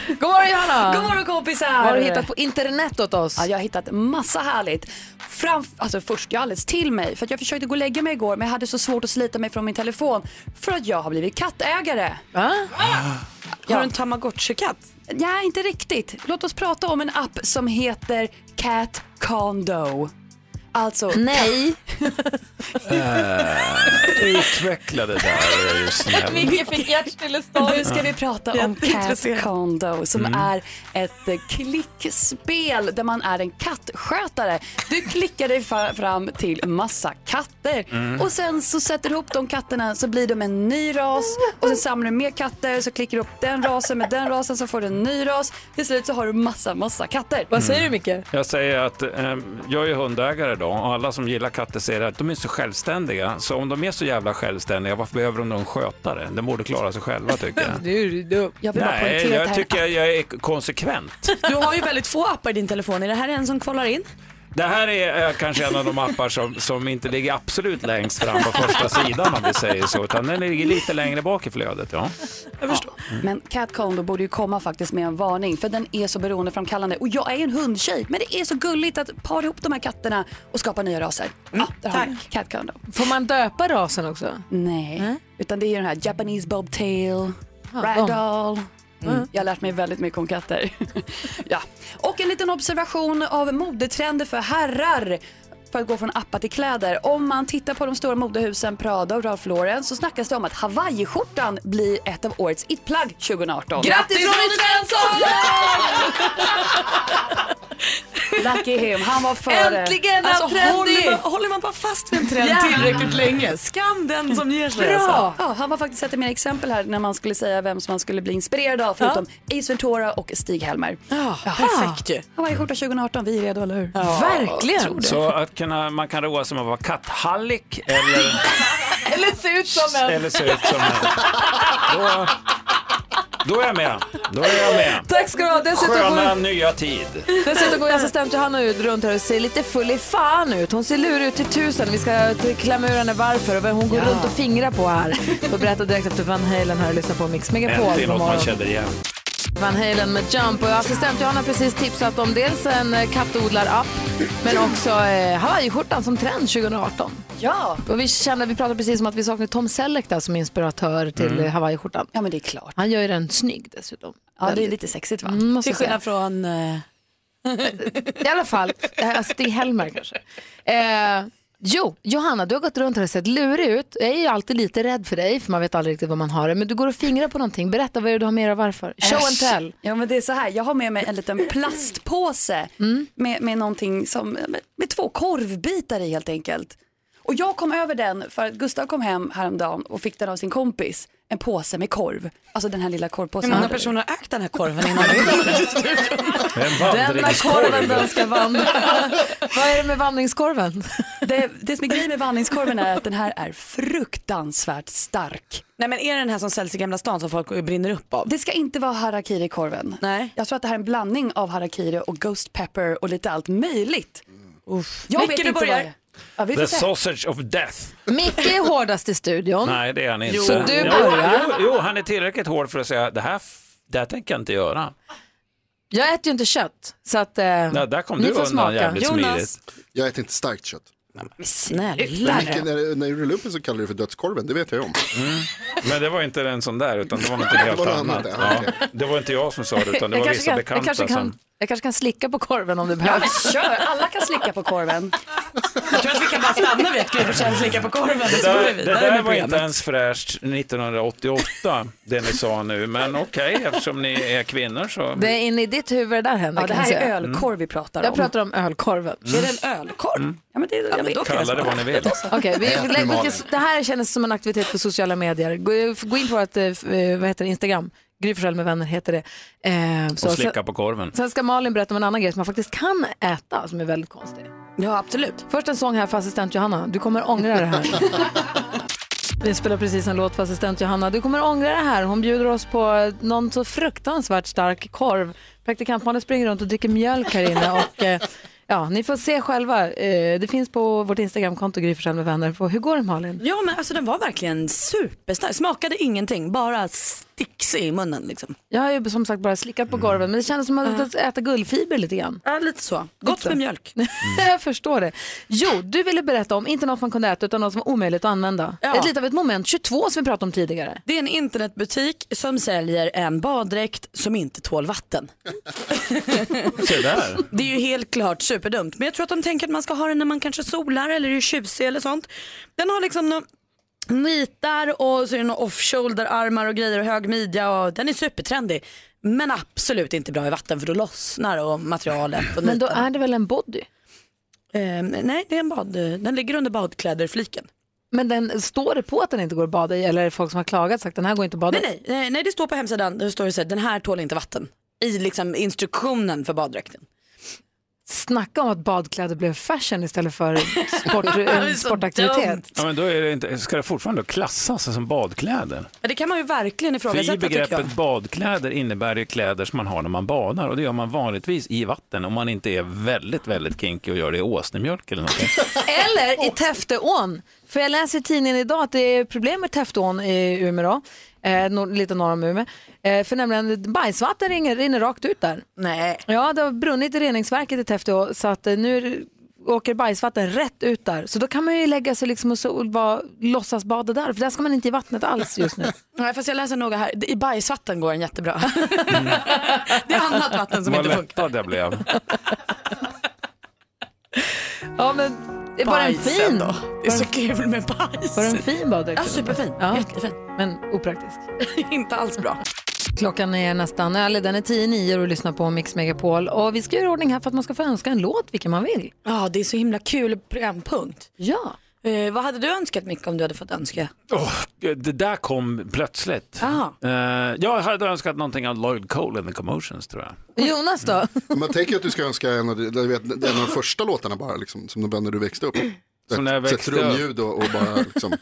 Speaker 1: God morgon Johanna!
Speaker 24: God morgon kompisar!
Speaker 1: Vad har du hittat på internet åt oss?
Speaker 24: Ja, jag har hittat massa härligt. Framf alltså först, jag alldeles till mig för att jag försökte gå och lägga mig igår men jag hade så svårt att slita mig från min telefon för att jag har blivit kattägare.
Speaker 2: Ah. Har du en tamagotchi-katt?
Speaker 24: Nej, inte riktigt. Låt oss prata om en app som heter Cat Condo. Alltså...
Speaker 1: Nej!
Speaker 23: Eh, Utveckla det där, är du snäll.
Speaker 24: Micke fick hjärtstillestånd. Nu ska vi prata om Cat
Speaker 2: Jätteintresserad.
Speaker 24: Condo som
Speaker 23: Mm.
Speaker 24: är ett eh, klickspel där man är en kattskötare. Du klickar dig fa- fram till massa katter
Speaker 8: Mm.
Speaker 24: och sen så sätter du ihop de katterna så blir de en ny ras och sen samlar du mer katter så klickar du upp den rasen med den rasen så får du en ny ras. Till slut så har du massa, massa katter.
Speaker 23: Vad säger Mm.
Speaker 24: du Micke?
Speaker 23: Jag säger att eh, jag är hundägare då och alla som gillar katter säger att de är så självständiga. Så om de är så jävla självständiga, varför behöver de någon skötare? De borde klara sig själva tycker jag.
Speaker 1: Du, du.
Speaker 24: Jag
Speaker 8: vill bara
Speaker 23: Nej,
Speaker 8: poängtera att det
Speaker 23: jag
Speaker 8: här
Speaker 23: tycker jag är konsekvent.
Speaker 8: Du har ju väldigt få appar i din telefon. Är det här en som kvalar in?
Speaker 23: Det här är eh, kanske en av de appar som, som inte ligger absolut längst fram på första sidan om vi säger så, utan den ligger lite längre bak i flödet. Ja.
Speaker 24: Mm. Men Cat Condo borde ju komma faktiskt med en varning för den är så beroendeframkallande. Och jag är en hundtjej men det är så gulligt att para ihop de här katterna och skapa nya raser. ja, där har ni Cat Condo.
Speaker 1: Får man döpa rasen också?
Speaker 24: Nej, utan det är ju den här Japanese Bobtail,
Speaker 1: Ja,
Speaker 24: Ragdoll. Mm. Jag har lärt mig väldigt mycket om katter. ja. Och en liten observation av modetrender för herrar för att gå från appar till kläder. Om man tittar på de stora modehusen Prada och Ralph Lauren så snackas det om att hawaiiskjortan blir ett av årets it-plagg 2018.
Speaker 8: Grattis, Ronny Svensson!
Speaker 24: Lucky him, han var före.
Speaker 8: Äntligen är
Speaker 24: Alltså,
Speaker 8: alltså, håller,
Speaker 24: håller
Speaker 8: man, håller man bara fast vid en trend
Speaker 24: Ja.
Speaker 8: tillräckligt länge? Skam den som ger sig.
Speaker 24: Bra!
Speaker 8: Alltså.
Speaker 24: Ja, han var faktiskt ett mer exempel här när man skulle säga vem som man skulle bli inspirerad av förutom Ace Ventura och Stig-Helmer. Ja,
Speaker 8: perfekt ju.
Speaker 24: Hawaiiskjorta 2018, vi är redo, eller hur? Tror det.
Speaker 23: Så att kunna, man kan roa sig med att vara katthallik eller,
Speaker 1: Eller se ut som en.
Speaker 23: eller se ut som en. Då, då är jag med. Då är jag med.
Speaker 1: Tack ska du ha. Dessutom
Speaker 23: Sköna
Speaker 1: går,
Speaker 23: nya tid.
Speaker 1: dessutom går ju assistent Johanna ut runt här och ser lite full i fan ut. Hon ser lurig ut till tusen. Vi ska till- klämma ur henne varför och vad hon går runt och fingrar på här. Får berätta direkt efter Van Halen här och lyssna på Mix Megapol.
Speaker 23: Äntligen
Speaker 1: God
Speaker 23: något man
Speaker 1: morgon.
Speaker 23: känner igen.
Speaker 1: Van Halen med Jump och assistent Johanna har precis tipsat om dels en eh, kattodlarapp men också eh, hawaiiskjortan som trend 2018.
Speaker 24: Ja.
Speaker 1: Och vi, känner, vi pratade precis om att vi saknar Tom Selleck där som inspiratör till
Speaker 24: Mm.
Speaker 1: mm. hawaiiskjortan.
Speaker 24: Ja men det är klart.
Speaker 1: Han gör ju den snygg dessutom.
Speaker 24: Ja, det är
Speaker 1: Väldigt.
Speaker 24: lite sexigt va?
Speaker 1: Mm, måste
Speaker 8: Till
Speaker 1: jag säga.
Speaker 8: skillnad från... eh,
Speaker 1: I alla fall, eh, alltså det är Helmer kanske. Eh, jo, Johanna, du har gått runt här och sett lurig ut. Jag är ju alltid lite rädd för dig, för man vet aldrig riktigt vad man har det. Men du går och fingrar på någonting. Berätta vad är det du har med dig och varför. Show and
Speaker 24: Äsch.
Speaker 1: tell.
Speaker 24: Ja, men det är så här. Jag har med mig en liten plastpåse
Speaker 1: Mm.
Speaker 24: med, med någonting som, med, med två korvbitar i helt enkelt. Och jag kom över den för att Gustav kom hem häromdagen och fick den av sin kompis. En påse med korv. Alltså den här lilla korvpåsen.
Speaker 8: Hur många personer har ägt den här korven innan?
Speaker 23: En
Speaker 1: Denna korven den
Speaker 23: vandringskorv.
Speaker 1: ska vandra. vad är det med vandringskorven?
Speaker 24: Det, det som är grejen med vandringskorven är att den här är fruktansvärt stark.
Speaker 8: Nej men är det den här som säljs i Gamla stan som folk brinner upp av?
Speaker 24: Det ska inte vara harakiri-korven.
Speaker 8: Nej.
Speaker 24: Jag tror att det här är en blandning av harakiri och ghost pepper och lite allt möjligt. Uff. Jag
Speaker 8: Micke,
Speaker 24: vet
Speaker 8: Mm. du
Speaker 24: inte vad
Speaker 8: börjar.
Speaker 24: jag- Ja, vi får
Speaker 23: The
Speaker 24: se.
Speaker 23: sausage of death.
Speaker 1: Micke är hårdast i studion.
Speaker 23: Nej, det är han inte.
Speaker 1: Jo, du
Speaker 23: Jo,
Speaker 1: börjar.
Speaker 23: Jo, jo, han är tillräckligt hård för att säga det här, f- det här tänker jag inte göra.
Speaker 1: Jag äter ju inte kött, så att eh,
Speaker 23: Ja, där kom
Speaker 1: ni
Speaker 23: du
Speaker 1: får
Speaker 23: undan
Speaker 1: smaka.
Speaker 23: jävligt smidigt.
Speaker 10: Jag äter inte starkt kött.
Speaker 8: Snälla.
Speaker 10: Men Micke, när, när du rullade upp den så kallade du det för dödskorven, det vet jag ju om.
Speaker 23: Mm. Men det var inte en sån där, utan det var något
Speaker 10: Det
Speaker 23: helt
Speaker 10: var något
Speaker 23: annat.
Speaker 10: annat, ja,
Speaker 23: Ja, det var inte jag som sa det, utan det var
Speaker 1: Jag kanske
Speaker 23: vissa
Speaker 1: kan- jag
Speaker 23: bekanta
Speaker 1: kanske kan-
Speaker 23: som...
Speaker 1: Jag kanske kan slicka på korven om det
Speaker 24: Ja, men
Speaker 1: behövs.
Speaker 24: kör, alla kan slicka på korven.
Speaker 8: Jag tror att vi kan bara stanna vid att Gry Forssell slickar på korven.
Speaker 23: Det
Speaker 8: så går vi
Speaker 23: där, det
Speaker 8: vidare
Speaker 23: där
Speaker 8: med
Speaker 23: var inte
Speaker 8: programmet.
Speaker 23: ens fräscht 1988, det ni sa nu. Men okej, eftersom ni är kvinnor så...
Speaker 1: Det är inne i ditt huvud där händer
Speaker 24: Ja, det
Speaker 1: kan jag
Speaker 24: här är
Speaker 1: säga.
Speaker 24: ölkorv vi pratar om.
Speaker 1: Jag pratar om ölkorven.
Speaker 23: Mm.
Speaker 24: Är det en ölkorv? Ja, men det, jag vet.
Speaker 23: Kalla det vad ni vill.
Speaker 24: Alltså.
Speaker 1: Okej, vi,
Speaker 23: Ät med
Speaker 1: lägg-
Speaker 23: magen.
Speaker 1: det här känns som en aktivitet för sociala medier. Gå, gå in på vårt eh, f- eh, vad heter det, Instagram, Gry Forssell med vänner heter det. Eh,
Speaker 23: Och slicka på korven.
Speaker 1: Sen ska Malin berätta om en annan grej som man faktiskt kan äta som är väldigt konstig.
Speaker 24: Ja, absolut.
Speaker 1: Först en sång här för assistent Johanna. Du kommer ångra det här. Vi spelar precis en låt för assistent Johanna. Du kommer ångra det här. Hon bjuder oss på någon så fruktansvärt stark korv. Praktikant Malin springer runt och dricker mjölk här inne. Och, eh, ja, ni får se själva. Eh, det finns på vårt Instagramkonto, Gry Forssell med vänner. På, hur går det Malin?
Speaker 8: Ja men alltså den var verkligen superstark, smakade ingenting, bara sticks i munnen liksom.
Speaker 1: Jag har ju som sagt bara slickat på korven, men det kändes som att äta guldfiber lite grann.
Speaker 8: Ja lite så, gott
Speaker 1: Lite.
Speaker 8: med mjölk.
Speaker 1: jag förstår det. Jo, du ville berätta om, inte något man kunde äta, utan något som var omöjligt att använda.
Speaker 8: Ja.
Speaker 1: Ett, lite av ett moment 22 som vi pratade om tidigare.
Speaker 8: Det är en internetbutik som säljer en baddräkt som inte tål vatten.
Speaker 23: Se där.
Speaker 8: Det är ju helt klart superdumt. Men jag tror att de tänker att man ska ha den när man kanske solar eller är tjusig eller sånt. Den har liksom nå-
Speaker 2: nitar och så är det några off-shoulder-armar och grejer och hög midja och den är supertrendig. Men absolut inte bra i vatten för då lossnar och materialet. Och
Speaker 1: Men då
Speaker 2: nitarna.
Speaker 1: är det väl en body?
Speaker 2: Eh, nej, det är en bad, den ligger under badkläder-fliken.
Speaker 1: Men den, står det på att den inte går att bada i eller är det folk som har klagat och sagt den här går inte att bada
Speaker 2: Nej,
Speaker 1: i?
Speaker 2: nej, nej, nej, det står på hemsidan, det står det så här, den här tål inte vatten. I liksom instruktionen för baddräkten.
Speaker 1: Snacka om att badkläder blev fashion istället för sport, en sportaktivitet.
Speaker 23: Ja, men då är det inte, ska det fortfarande klassas som badkläder?
Speaker 2: Ja, det kan man ju
Speaker 23: För
Speaker 2: verkligen
Speaker 23: i
Speaker 2: ifrågasätta tycker jag.
Speaker 23: begreppet badkläder innebär det kläder som man har när man badar och det gör man vanligtvis i vatten om man inte är väldigt, väldigt kinky och gör det i åsnemjölk eller någonting.
Speaker 1: Eller i Täfteån. För jag läser i tidningen idag att det är problem med Täfteån i Umeå, då, eh, nor- lite norr om Umeå. Eh, för nämligen bajsvatten ringer, rinner rakt ut där.
Speaker 2: Nej.
Speaker 1: Ja, det har brunnit i reningsverket i Täfteå så att eh, nu är det- åker bajsvatten rätt ut där. Så då kan man ju lägga sig liksom och, så, och bara låtsas bada där, för där ska man inte i vattnet alls just nu.
Speaker 2: Nej, fast jag läser noga här. I bajsvatten går den jättebra. det är annat vatten som
Speaker 23: Vad
Speaker 2: inte funkar.
Speaker 23: lättad jag blev.
Speaker 1: Ja, men det var en
Speaker 2: Bajsen
Speaker 1: fin.
Speaker 2: då. Det är så kul med bajs.
Speaker 1: Var den fin baddräkt?
Speaker 2: Ja, superfin. Jättefin.
Speaker 1: Men opraktisk.
Speaker 2: inte alls bra.
Speaker 1: Klockan är nästan, eller den är tio nio och du lyssnar på Mix Megapol. Och vi ska göra i ordning här för att man ska få önska en låt, vilken man vill.
Speaker 2: Ja, det är så himla kul programpunkt.
Speaker 1: Ja.
Speaker 2: Eh, vad hade du önskat Micke om du hade fått önska? Ah.
Speaker 23: Åh, det där kom plötsligt.
Speaker 2: Ja.
Speaker 23: Eh, jag hade önskat någonting av Lloyd Cole and the Commotions tror jag.
Speaker 1: Jonas då?
Speaker 10: Man tänker att du ska önska en av, de- du vet, en av de första låtarna bara, liksom, som de band när du växte upp.
Speaker 23: Som när jag
Speaker 10: Ett- ett
Speaker 23: växte
Speaker 10: trumljud och, och bara liksom.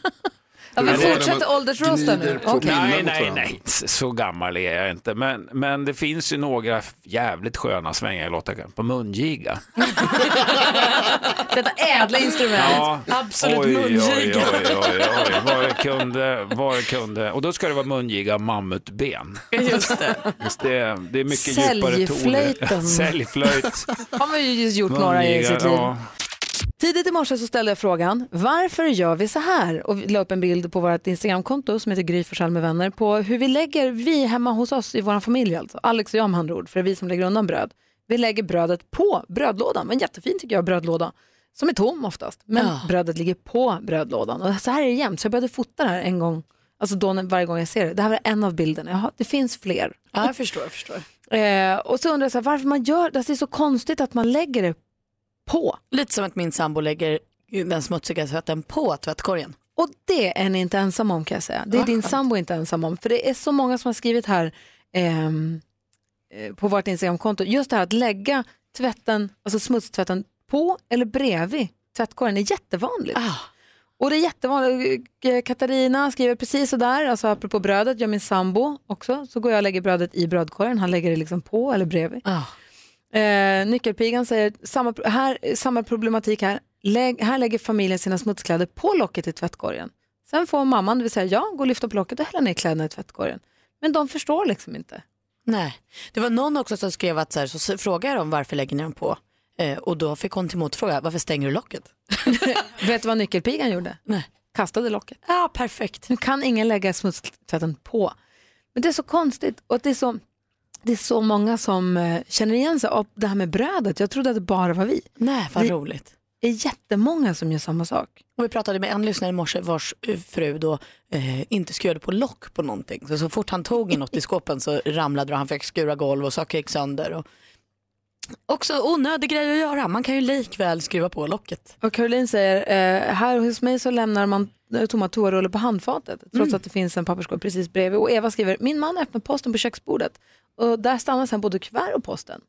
Speaker 1: Ja, vi
Speaker 23: Mm.
Speaker 10: Det var när
Speaker 1: fortsätter
Speaker 10: man
Speaker 1: åldersrosta
Speaker 10: gnider
Speaker 1: nu.
Speaker 10: på
Speaker 1: Okej.
Speaker 10: pinnar
Speaker 23: Nej,
Speaker 10: mot
Speaker 23: nej,
Speaker 10: varandra.
Speaker 23: nej, så gammal är jag inte. Men, men det finns ju några jävligt sköna svängar i låtar på mungiga.
Speaker 1: Detta ädla instrument.
Speaker 23: oj, Oj, oj, oj, oj. Vad det kunde, vad det kunde. Och då ska det vara mungiga mammutben.
Speaker 2: Just det.
Speaker 23: det, det är mycket djupare toner.
Speaker 1: Säljflöjten.
Speaker 23: Säljflöjt.
Speaker 1: Har man ju just gjort några i
Speaker 23: mungiga,
Speaker 1: sitt liv.
Speaker 23: ja.
Speaker 1: Tidigt i morse så ställde jag frågan, varför gör vi så här? Och vi la upp en bild på vårt Instagramkonto som heter Gry Forssell med vänner på hur vi lägger, vi hemma hos oss i vår familj alltså, Alex och jag med andra ord, för det är vi som lägger undan bröd. Vi lägger brödet på brödlådan, en jättefin tycker jag brödlåda, som är tom oftast, men
Speaker 2: Ja.
Speaker 1: brödet ligger på brödlådan. Och så här är det jämt, så jag började fota det här en gång, alltså då när, varje gång jag ser det. Det här var en av bilderna, Jaha, det finns fler.
Speaker 2: Ja, jag förstår, jag förstår.
Speaker 1: Eh, och så undrar jag så här, varför man gör, alltså det är så konstigt att man lägger det på.
Speaker 2: Lite som att min sambo lägger den smutsiga tvätten på tvättkorgen.
Speaker 1: Och det är ni inte ensam om kan jag säga. Det är
Speaker 2: Vad
Speaker 1: din
Speaker 2: skönt.
Speaker 1: sambo inte ensam om. För det är så många som har skrivit här ehm, eh, på vårt Instagramkonto, just det här att lägga tvätten, alltså smutstvätten på eller bredvid tvättkorgen är jättevanligt. Och det är jättevanligt. Eh, Katarina skriver precis sådär, alltså apropå brödet, gör min sambo också, så går jag och lägger brödet i brödkorgen, han lägger det liksom på eller bredvid. Eh, nyckelpigan säger samma, pro- här, samma problematik här. Lägg, här lägger familjen sina smutskläder på locket i tvättkorgen. Sen får mamman, det vill säga jag, gå och lyfta på locket och hälla ner kläderna i tvättkorgen. Men de förstår liksom inte.
Speaker 2: Nej, det var någon också som skrev att så, här, så s- frågade jag dem varför lägger ni dem på? Eh, och då fick hon till motfråga, varför stänger du locket?
Speaker 1: Vet du vad nyckelpigan gjorde?
Speaker 2: Nej.
Speaker 1: Kastade locket.
Speaker 2: Ja, perfekt.
Speaker 1: Nu kan ingen lägga smutstvätten på. Men det är så konstigt och att det är så, det är så många som eh, känner igen sig av det här med brödet. Jag trodde att det bara var vi.
Speaker 2: Nej, vad
Speaker 1: Vi-
Speaker 2: roligt.
Speaker 1: Det är jättemånga som gör samma sak.
Speaker 2: Och vi pratade med en lyssnare i morse vars eh, fru då eh, inte skurade på lock på någonting. Så, så fort han tog i något i skåpen så ramlade det och han fick skura golv och saker gick sönder. Och... Också onödig grej att göra, man kan ju likväl skruva på locket.
Speaker 1: Och Caroline säger, eh, här hos mig så lämnar man eh, tomma toarullar på handfatet trots
Speaker 2: Mm.
Speaker 1: att det finns en papperskorg precis bredvid. Och Eva skriver, min man öppnar posten på köksbordet och där stannar sen både kuvert och posten.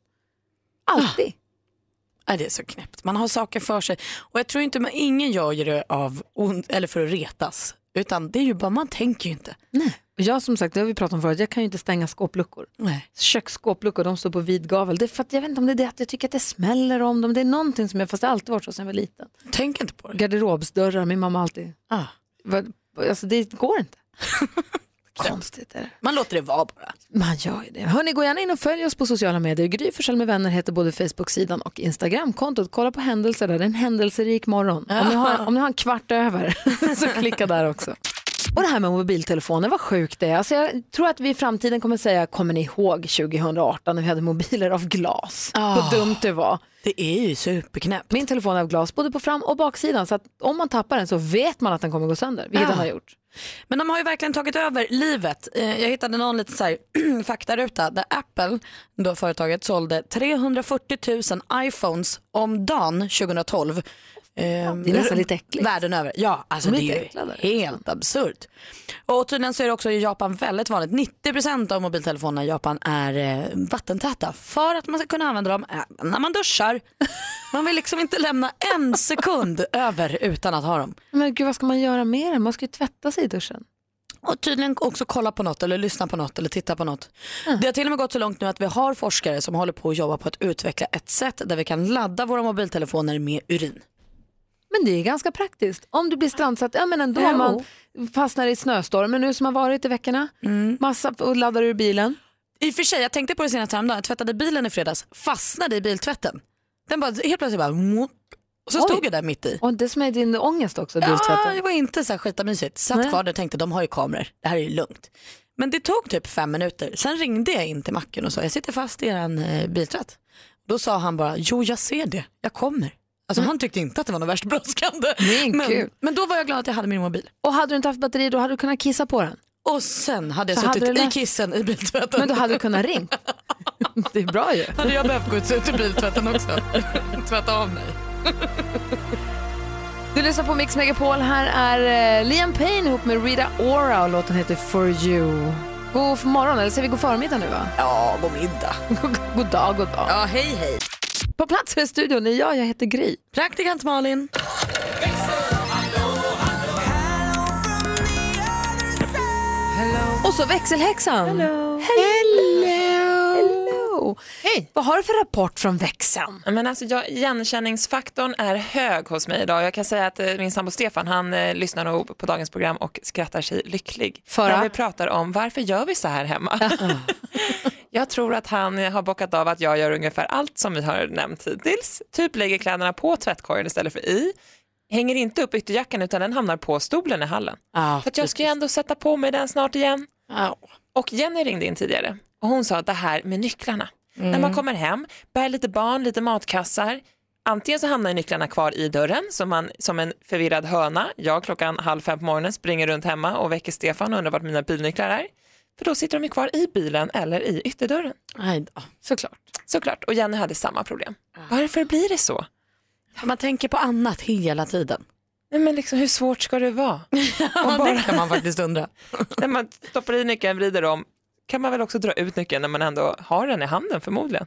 Speaker 1: Alltid.
Speaker 2: Nej, det är så knäppt. Man har saker för sig. Och jag tror inte man, ingen gör ju det av ond, eller för att retas. Utan det är ju bara, man tänker ju inte.
Speaker 1: Och jag som sagt, det har vi pratat om förut, jag kan ju inte stänga skåpluckor.
Speaker 2: Nej.
Speaker 1: Köksskåpluckor, de står på vid gavel. Det är för att jag vet inte om det är det att jag tycker att det smäller om dem. Det är någonting som jag, fast det har alltid varit så sedan jag var liten.
Speaker 2: Tänk inte på det.
Speaker 1: Garderobsdörrar, min mamma alltid.
Speaker 2: Ah.
Speaker 1: Vad- Alltså det går inte. Konstigt är det.
Speaker 2: Man låter det vara bara.
Speaker 1: Man gör ju det. Hörni, gå gärna in och följ oss på sociala medier. Gry Forssell med vänner heter både Facebook-sidan och Instagram-kontot. Kolla på händelser där, det är en händelserik morgon. Om ni har, om ni har en kvart över så klicka där också. Och det här med mobiltelefoner, vad sjukt det är. Alltså jag tror att vi i framtiden kommer säga, kommer ni ihåg 2018 när vi hade mobiler av glas?
Speaker 2: Ah.
Speaker 1: Vad dumt det var.
Speaker 2: Det är ju superknäppt.
Speaker 1: Min telefon är av glas, både på fram och baksidan. Så att om man tappar den så vet man att den kommer gå sönder, vilket
Speaker 2: Ja.
Speaker 1: den har gjort.
Speaker 2: Men de har ju verkligen tagit över livet. Eh, Jag hittade någon liten så här faktaruta där Apple, då företaget, sålde 340 000 iPhones om dagen 2012. Det
Speaker 1: det är nästan lite äckligt.
Speaker 2: Världen över. Ja, alltså
Speaker 1: De är
Speaker 2: det
Speaker 1: lite
Speaker 2: är
Speaker 1: äcklade.
Speaker 2: ju helt absurt. Och tydligen så är det också i Japan väldigt vanligt. 90% av mobiltelefonerna i Japan är eh, vattentäta för att man ska kunna använda dem även när man duschar. Man vill liksom inte lämna en sekund över utan att ha dem.
Speaker 1: Men gud, vad ska man göra med den? Man ska ju tvätta sig i duschen.
Speaker 2: Och tydligen också kolla på något eller lyssna på något eller titta på något. Det har till och med gått så långt nu att vi har forskare som håller på att jobba på att utveckla ett sätt där vi kan ladda våra mobiltelefoner med urin.
Speaker 1: Men det är ganska praktiskt. Om du blir strandsatt, ja men ändå,
Speaker 2: Jo.
Speaker 1: man fastnar i snöstormen nu som har varit i veckorna. Massa, och laddar ur bilen.
Speaker 2: I och för sig, jag tänkte på det senast häromdagen, jag tvättade bilen i fredags, fastnade i biltvätten. Den bara, helt plötsligt bara, och så stod jag där mitt i.
Speaker 1: Och det som är din ångest också,
Speaker 2: Ja,
Speaker 1: biltvätten.
Speaker 2: det var inte så här skitamysigt. Satt
Speaker 1: Nej.
Speaker 2: kvar där och tänkte, de har ju kameror, det här är ju lugnt. Men det tog typ fem minuter, sen ringde jag in till macken och sa, jag sitter fast i eran eh, biltvätt. Då sa han bara, jo jag ser det, jag kommer. Alltså
Speaker 1: Mm.
Speaker 2: han tyckte inte att det var något värst brådskande.
Speaker 1: kul.
Speaker 2: Men, men då var jag glad att jag hade min mobil.
Speaker 1: Och hade du inte haft batteri då hade du kunnat kissa på den.
Speaker 2: Och sen hade jag
Speaker 1: Så hade
Speaker 2: suttit
Speaker 1: du
Speaker 2: i
Speaker 1: lärt-
Speaker 2: kissen i biltvätten.
Speaker 1: Men då hade du kunnat ringa. Det är bra ju.
Speaker 2: Hade jag behövt gå ut ur biltvätten också. Tvätta av mig.
Speaker 1: Du lyssnar på Mix Megapol. Här är eh, Liam Payne ihop med Rita Ora och låten heter For You. God morgon, eller säger vi god förmiddag nu va?
Speaker 2: Ja, god middag.
Speaker 1: god dag, god dag.
Speaker 2: Ja, hej hej.
Speaker 1: På plats här i studion är jag, jag heter Gry.
Speaker 2: Praktikant Malin.
Speaker 1: Och så växelhäxan. Hello. Hello. Hej. Vad har du för rapport från växeln?
Speaker 9: Ja, Men alltså, jag, igenkänningsfaktorn är hög hos mig idag. Jag kan säga att eh, min sambo Stefan, han eh, lyssnar nog på dagens program och skrattar sig lycklig.
Speaker 1: För
Speaker 9: När
Speaker 1: att?
Speaker 9: vi pratar om varför gör vi så här hemma? jag tror att han eh, har bockat av att jag gör ungefär allt som vi har nämnt hittills. Typ lägger kläderna på tvättkorgen istället för i. Hänger inte upp ytterjackan utan den hamnar på stolen i hallen. för att jag ska ju ändå sätta på mig den snart igen. Och Jenny ringde in tidigare och hon sa att det här med nycklarna.
Speaker 7: Mm.
Speaker 9: När man kommer hem, bär lite barn, lite matkassar. Antingen så hamnar nycklarna kvar i dörren som, man, som en förvirrad höna. Jag klockan halv fem på morgonen springer runt hemma och väcker Stefan och undrar vart mina bilnycklar är. För då sitter de ju kvar i bilen eller i ytterdörren.
Speaker 1: Såklart.
Speaker 9: Såklart, och Jenny hade samma problem. Varför blir det så?
Speaker 2: Man tänker på annat hela tiden.
Speaker 9: Nej, men liksom, hur svårt ska det vara?
Speaker 2: Ja, det kan man faktiskt undra.
Speaker 9: när man stoppar i nyckeln, vrider om, kan man väl också dra ut nyckeln när man ändå har den i handen förmodligen.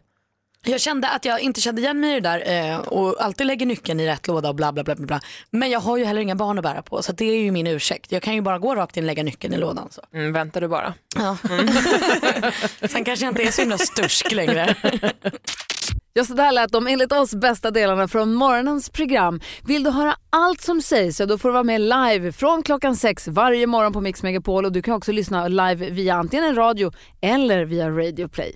Speaker 2: Jag kände att jag inte kände igen mig i det där eh, och alltid lägger nyckeln i rätt låda och bla bla bla. bla, bla. Men jag har ju heller inga barn att bära på så det är ju min ursäkt. Jag kan ju bara gå rakt in och lägga nyckeln i lådan. Så.
Speaker 9: Mm, väntar du bara.
Speaker 2: Sen kanske jag inte är så himla stursk längre.
Speaker 1: Ja, så där lät de enligt oss bästa delarna från morgonens program. Vill du höra allt som sägs så då får du vara med live från klockan sex varje morgon på Mix Megapol och du kan också lyssna live via antingen en radio eller via Radio Play.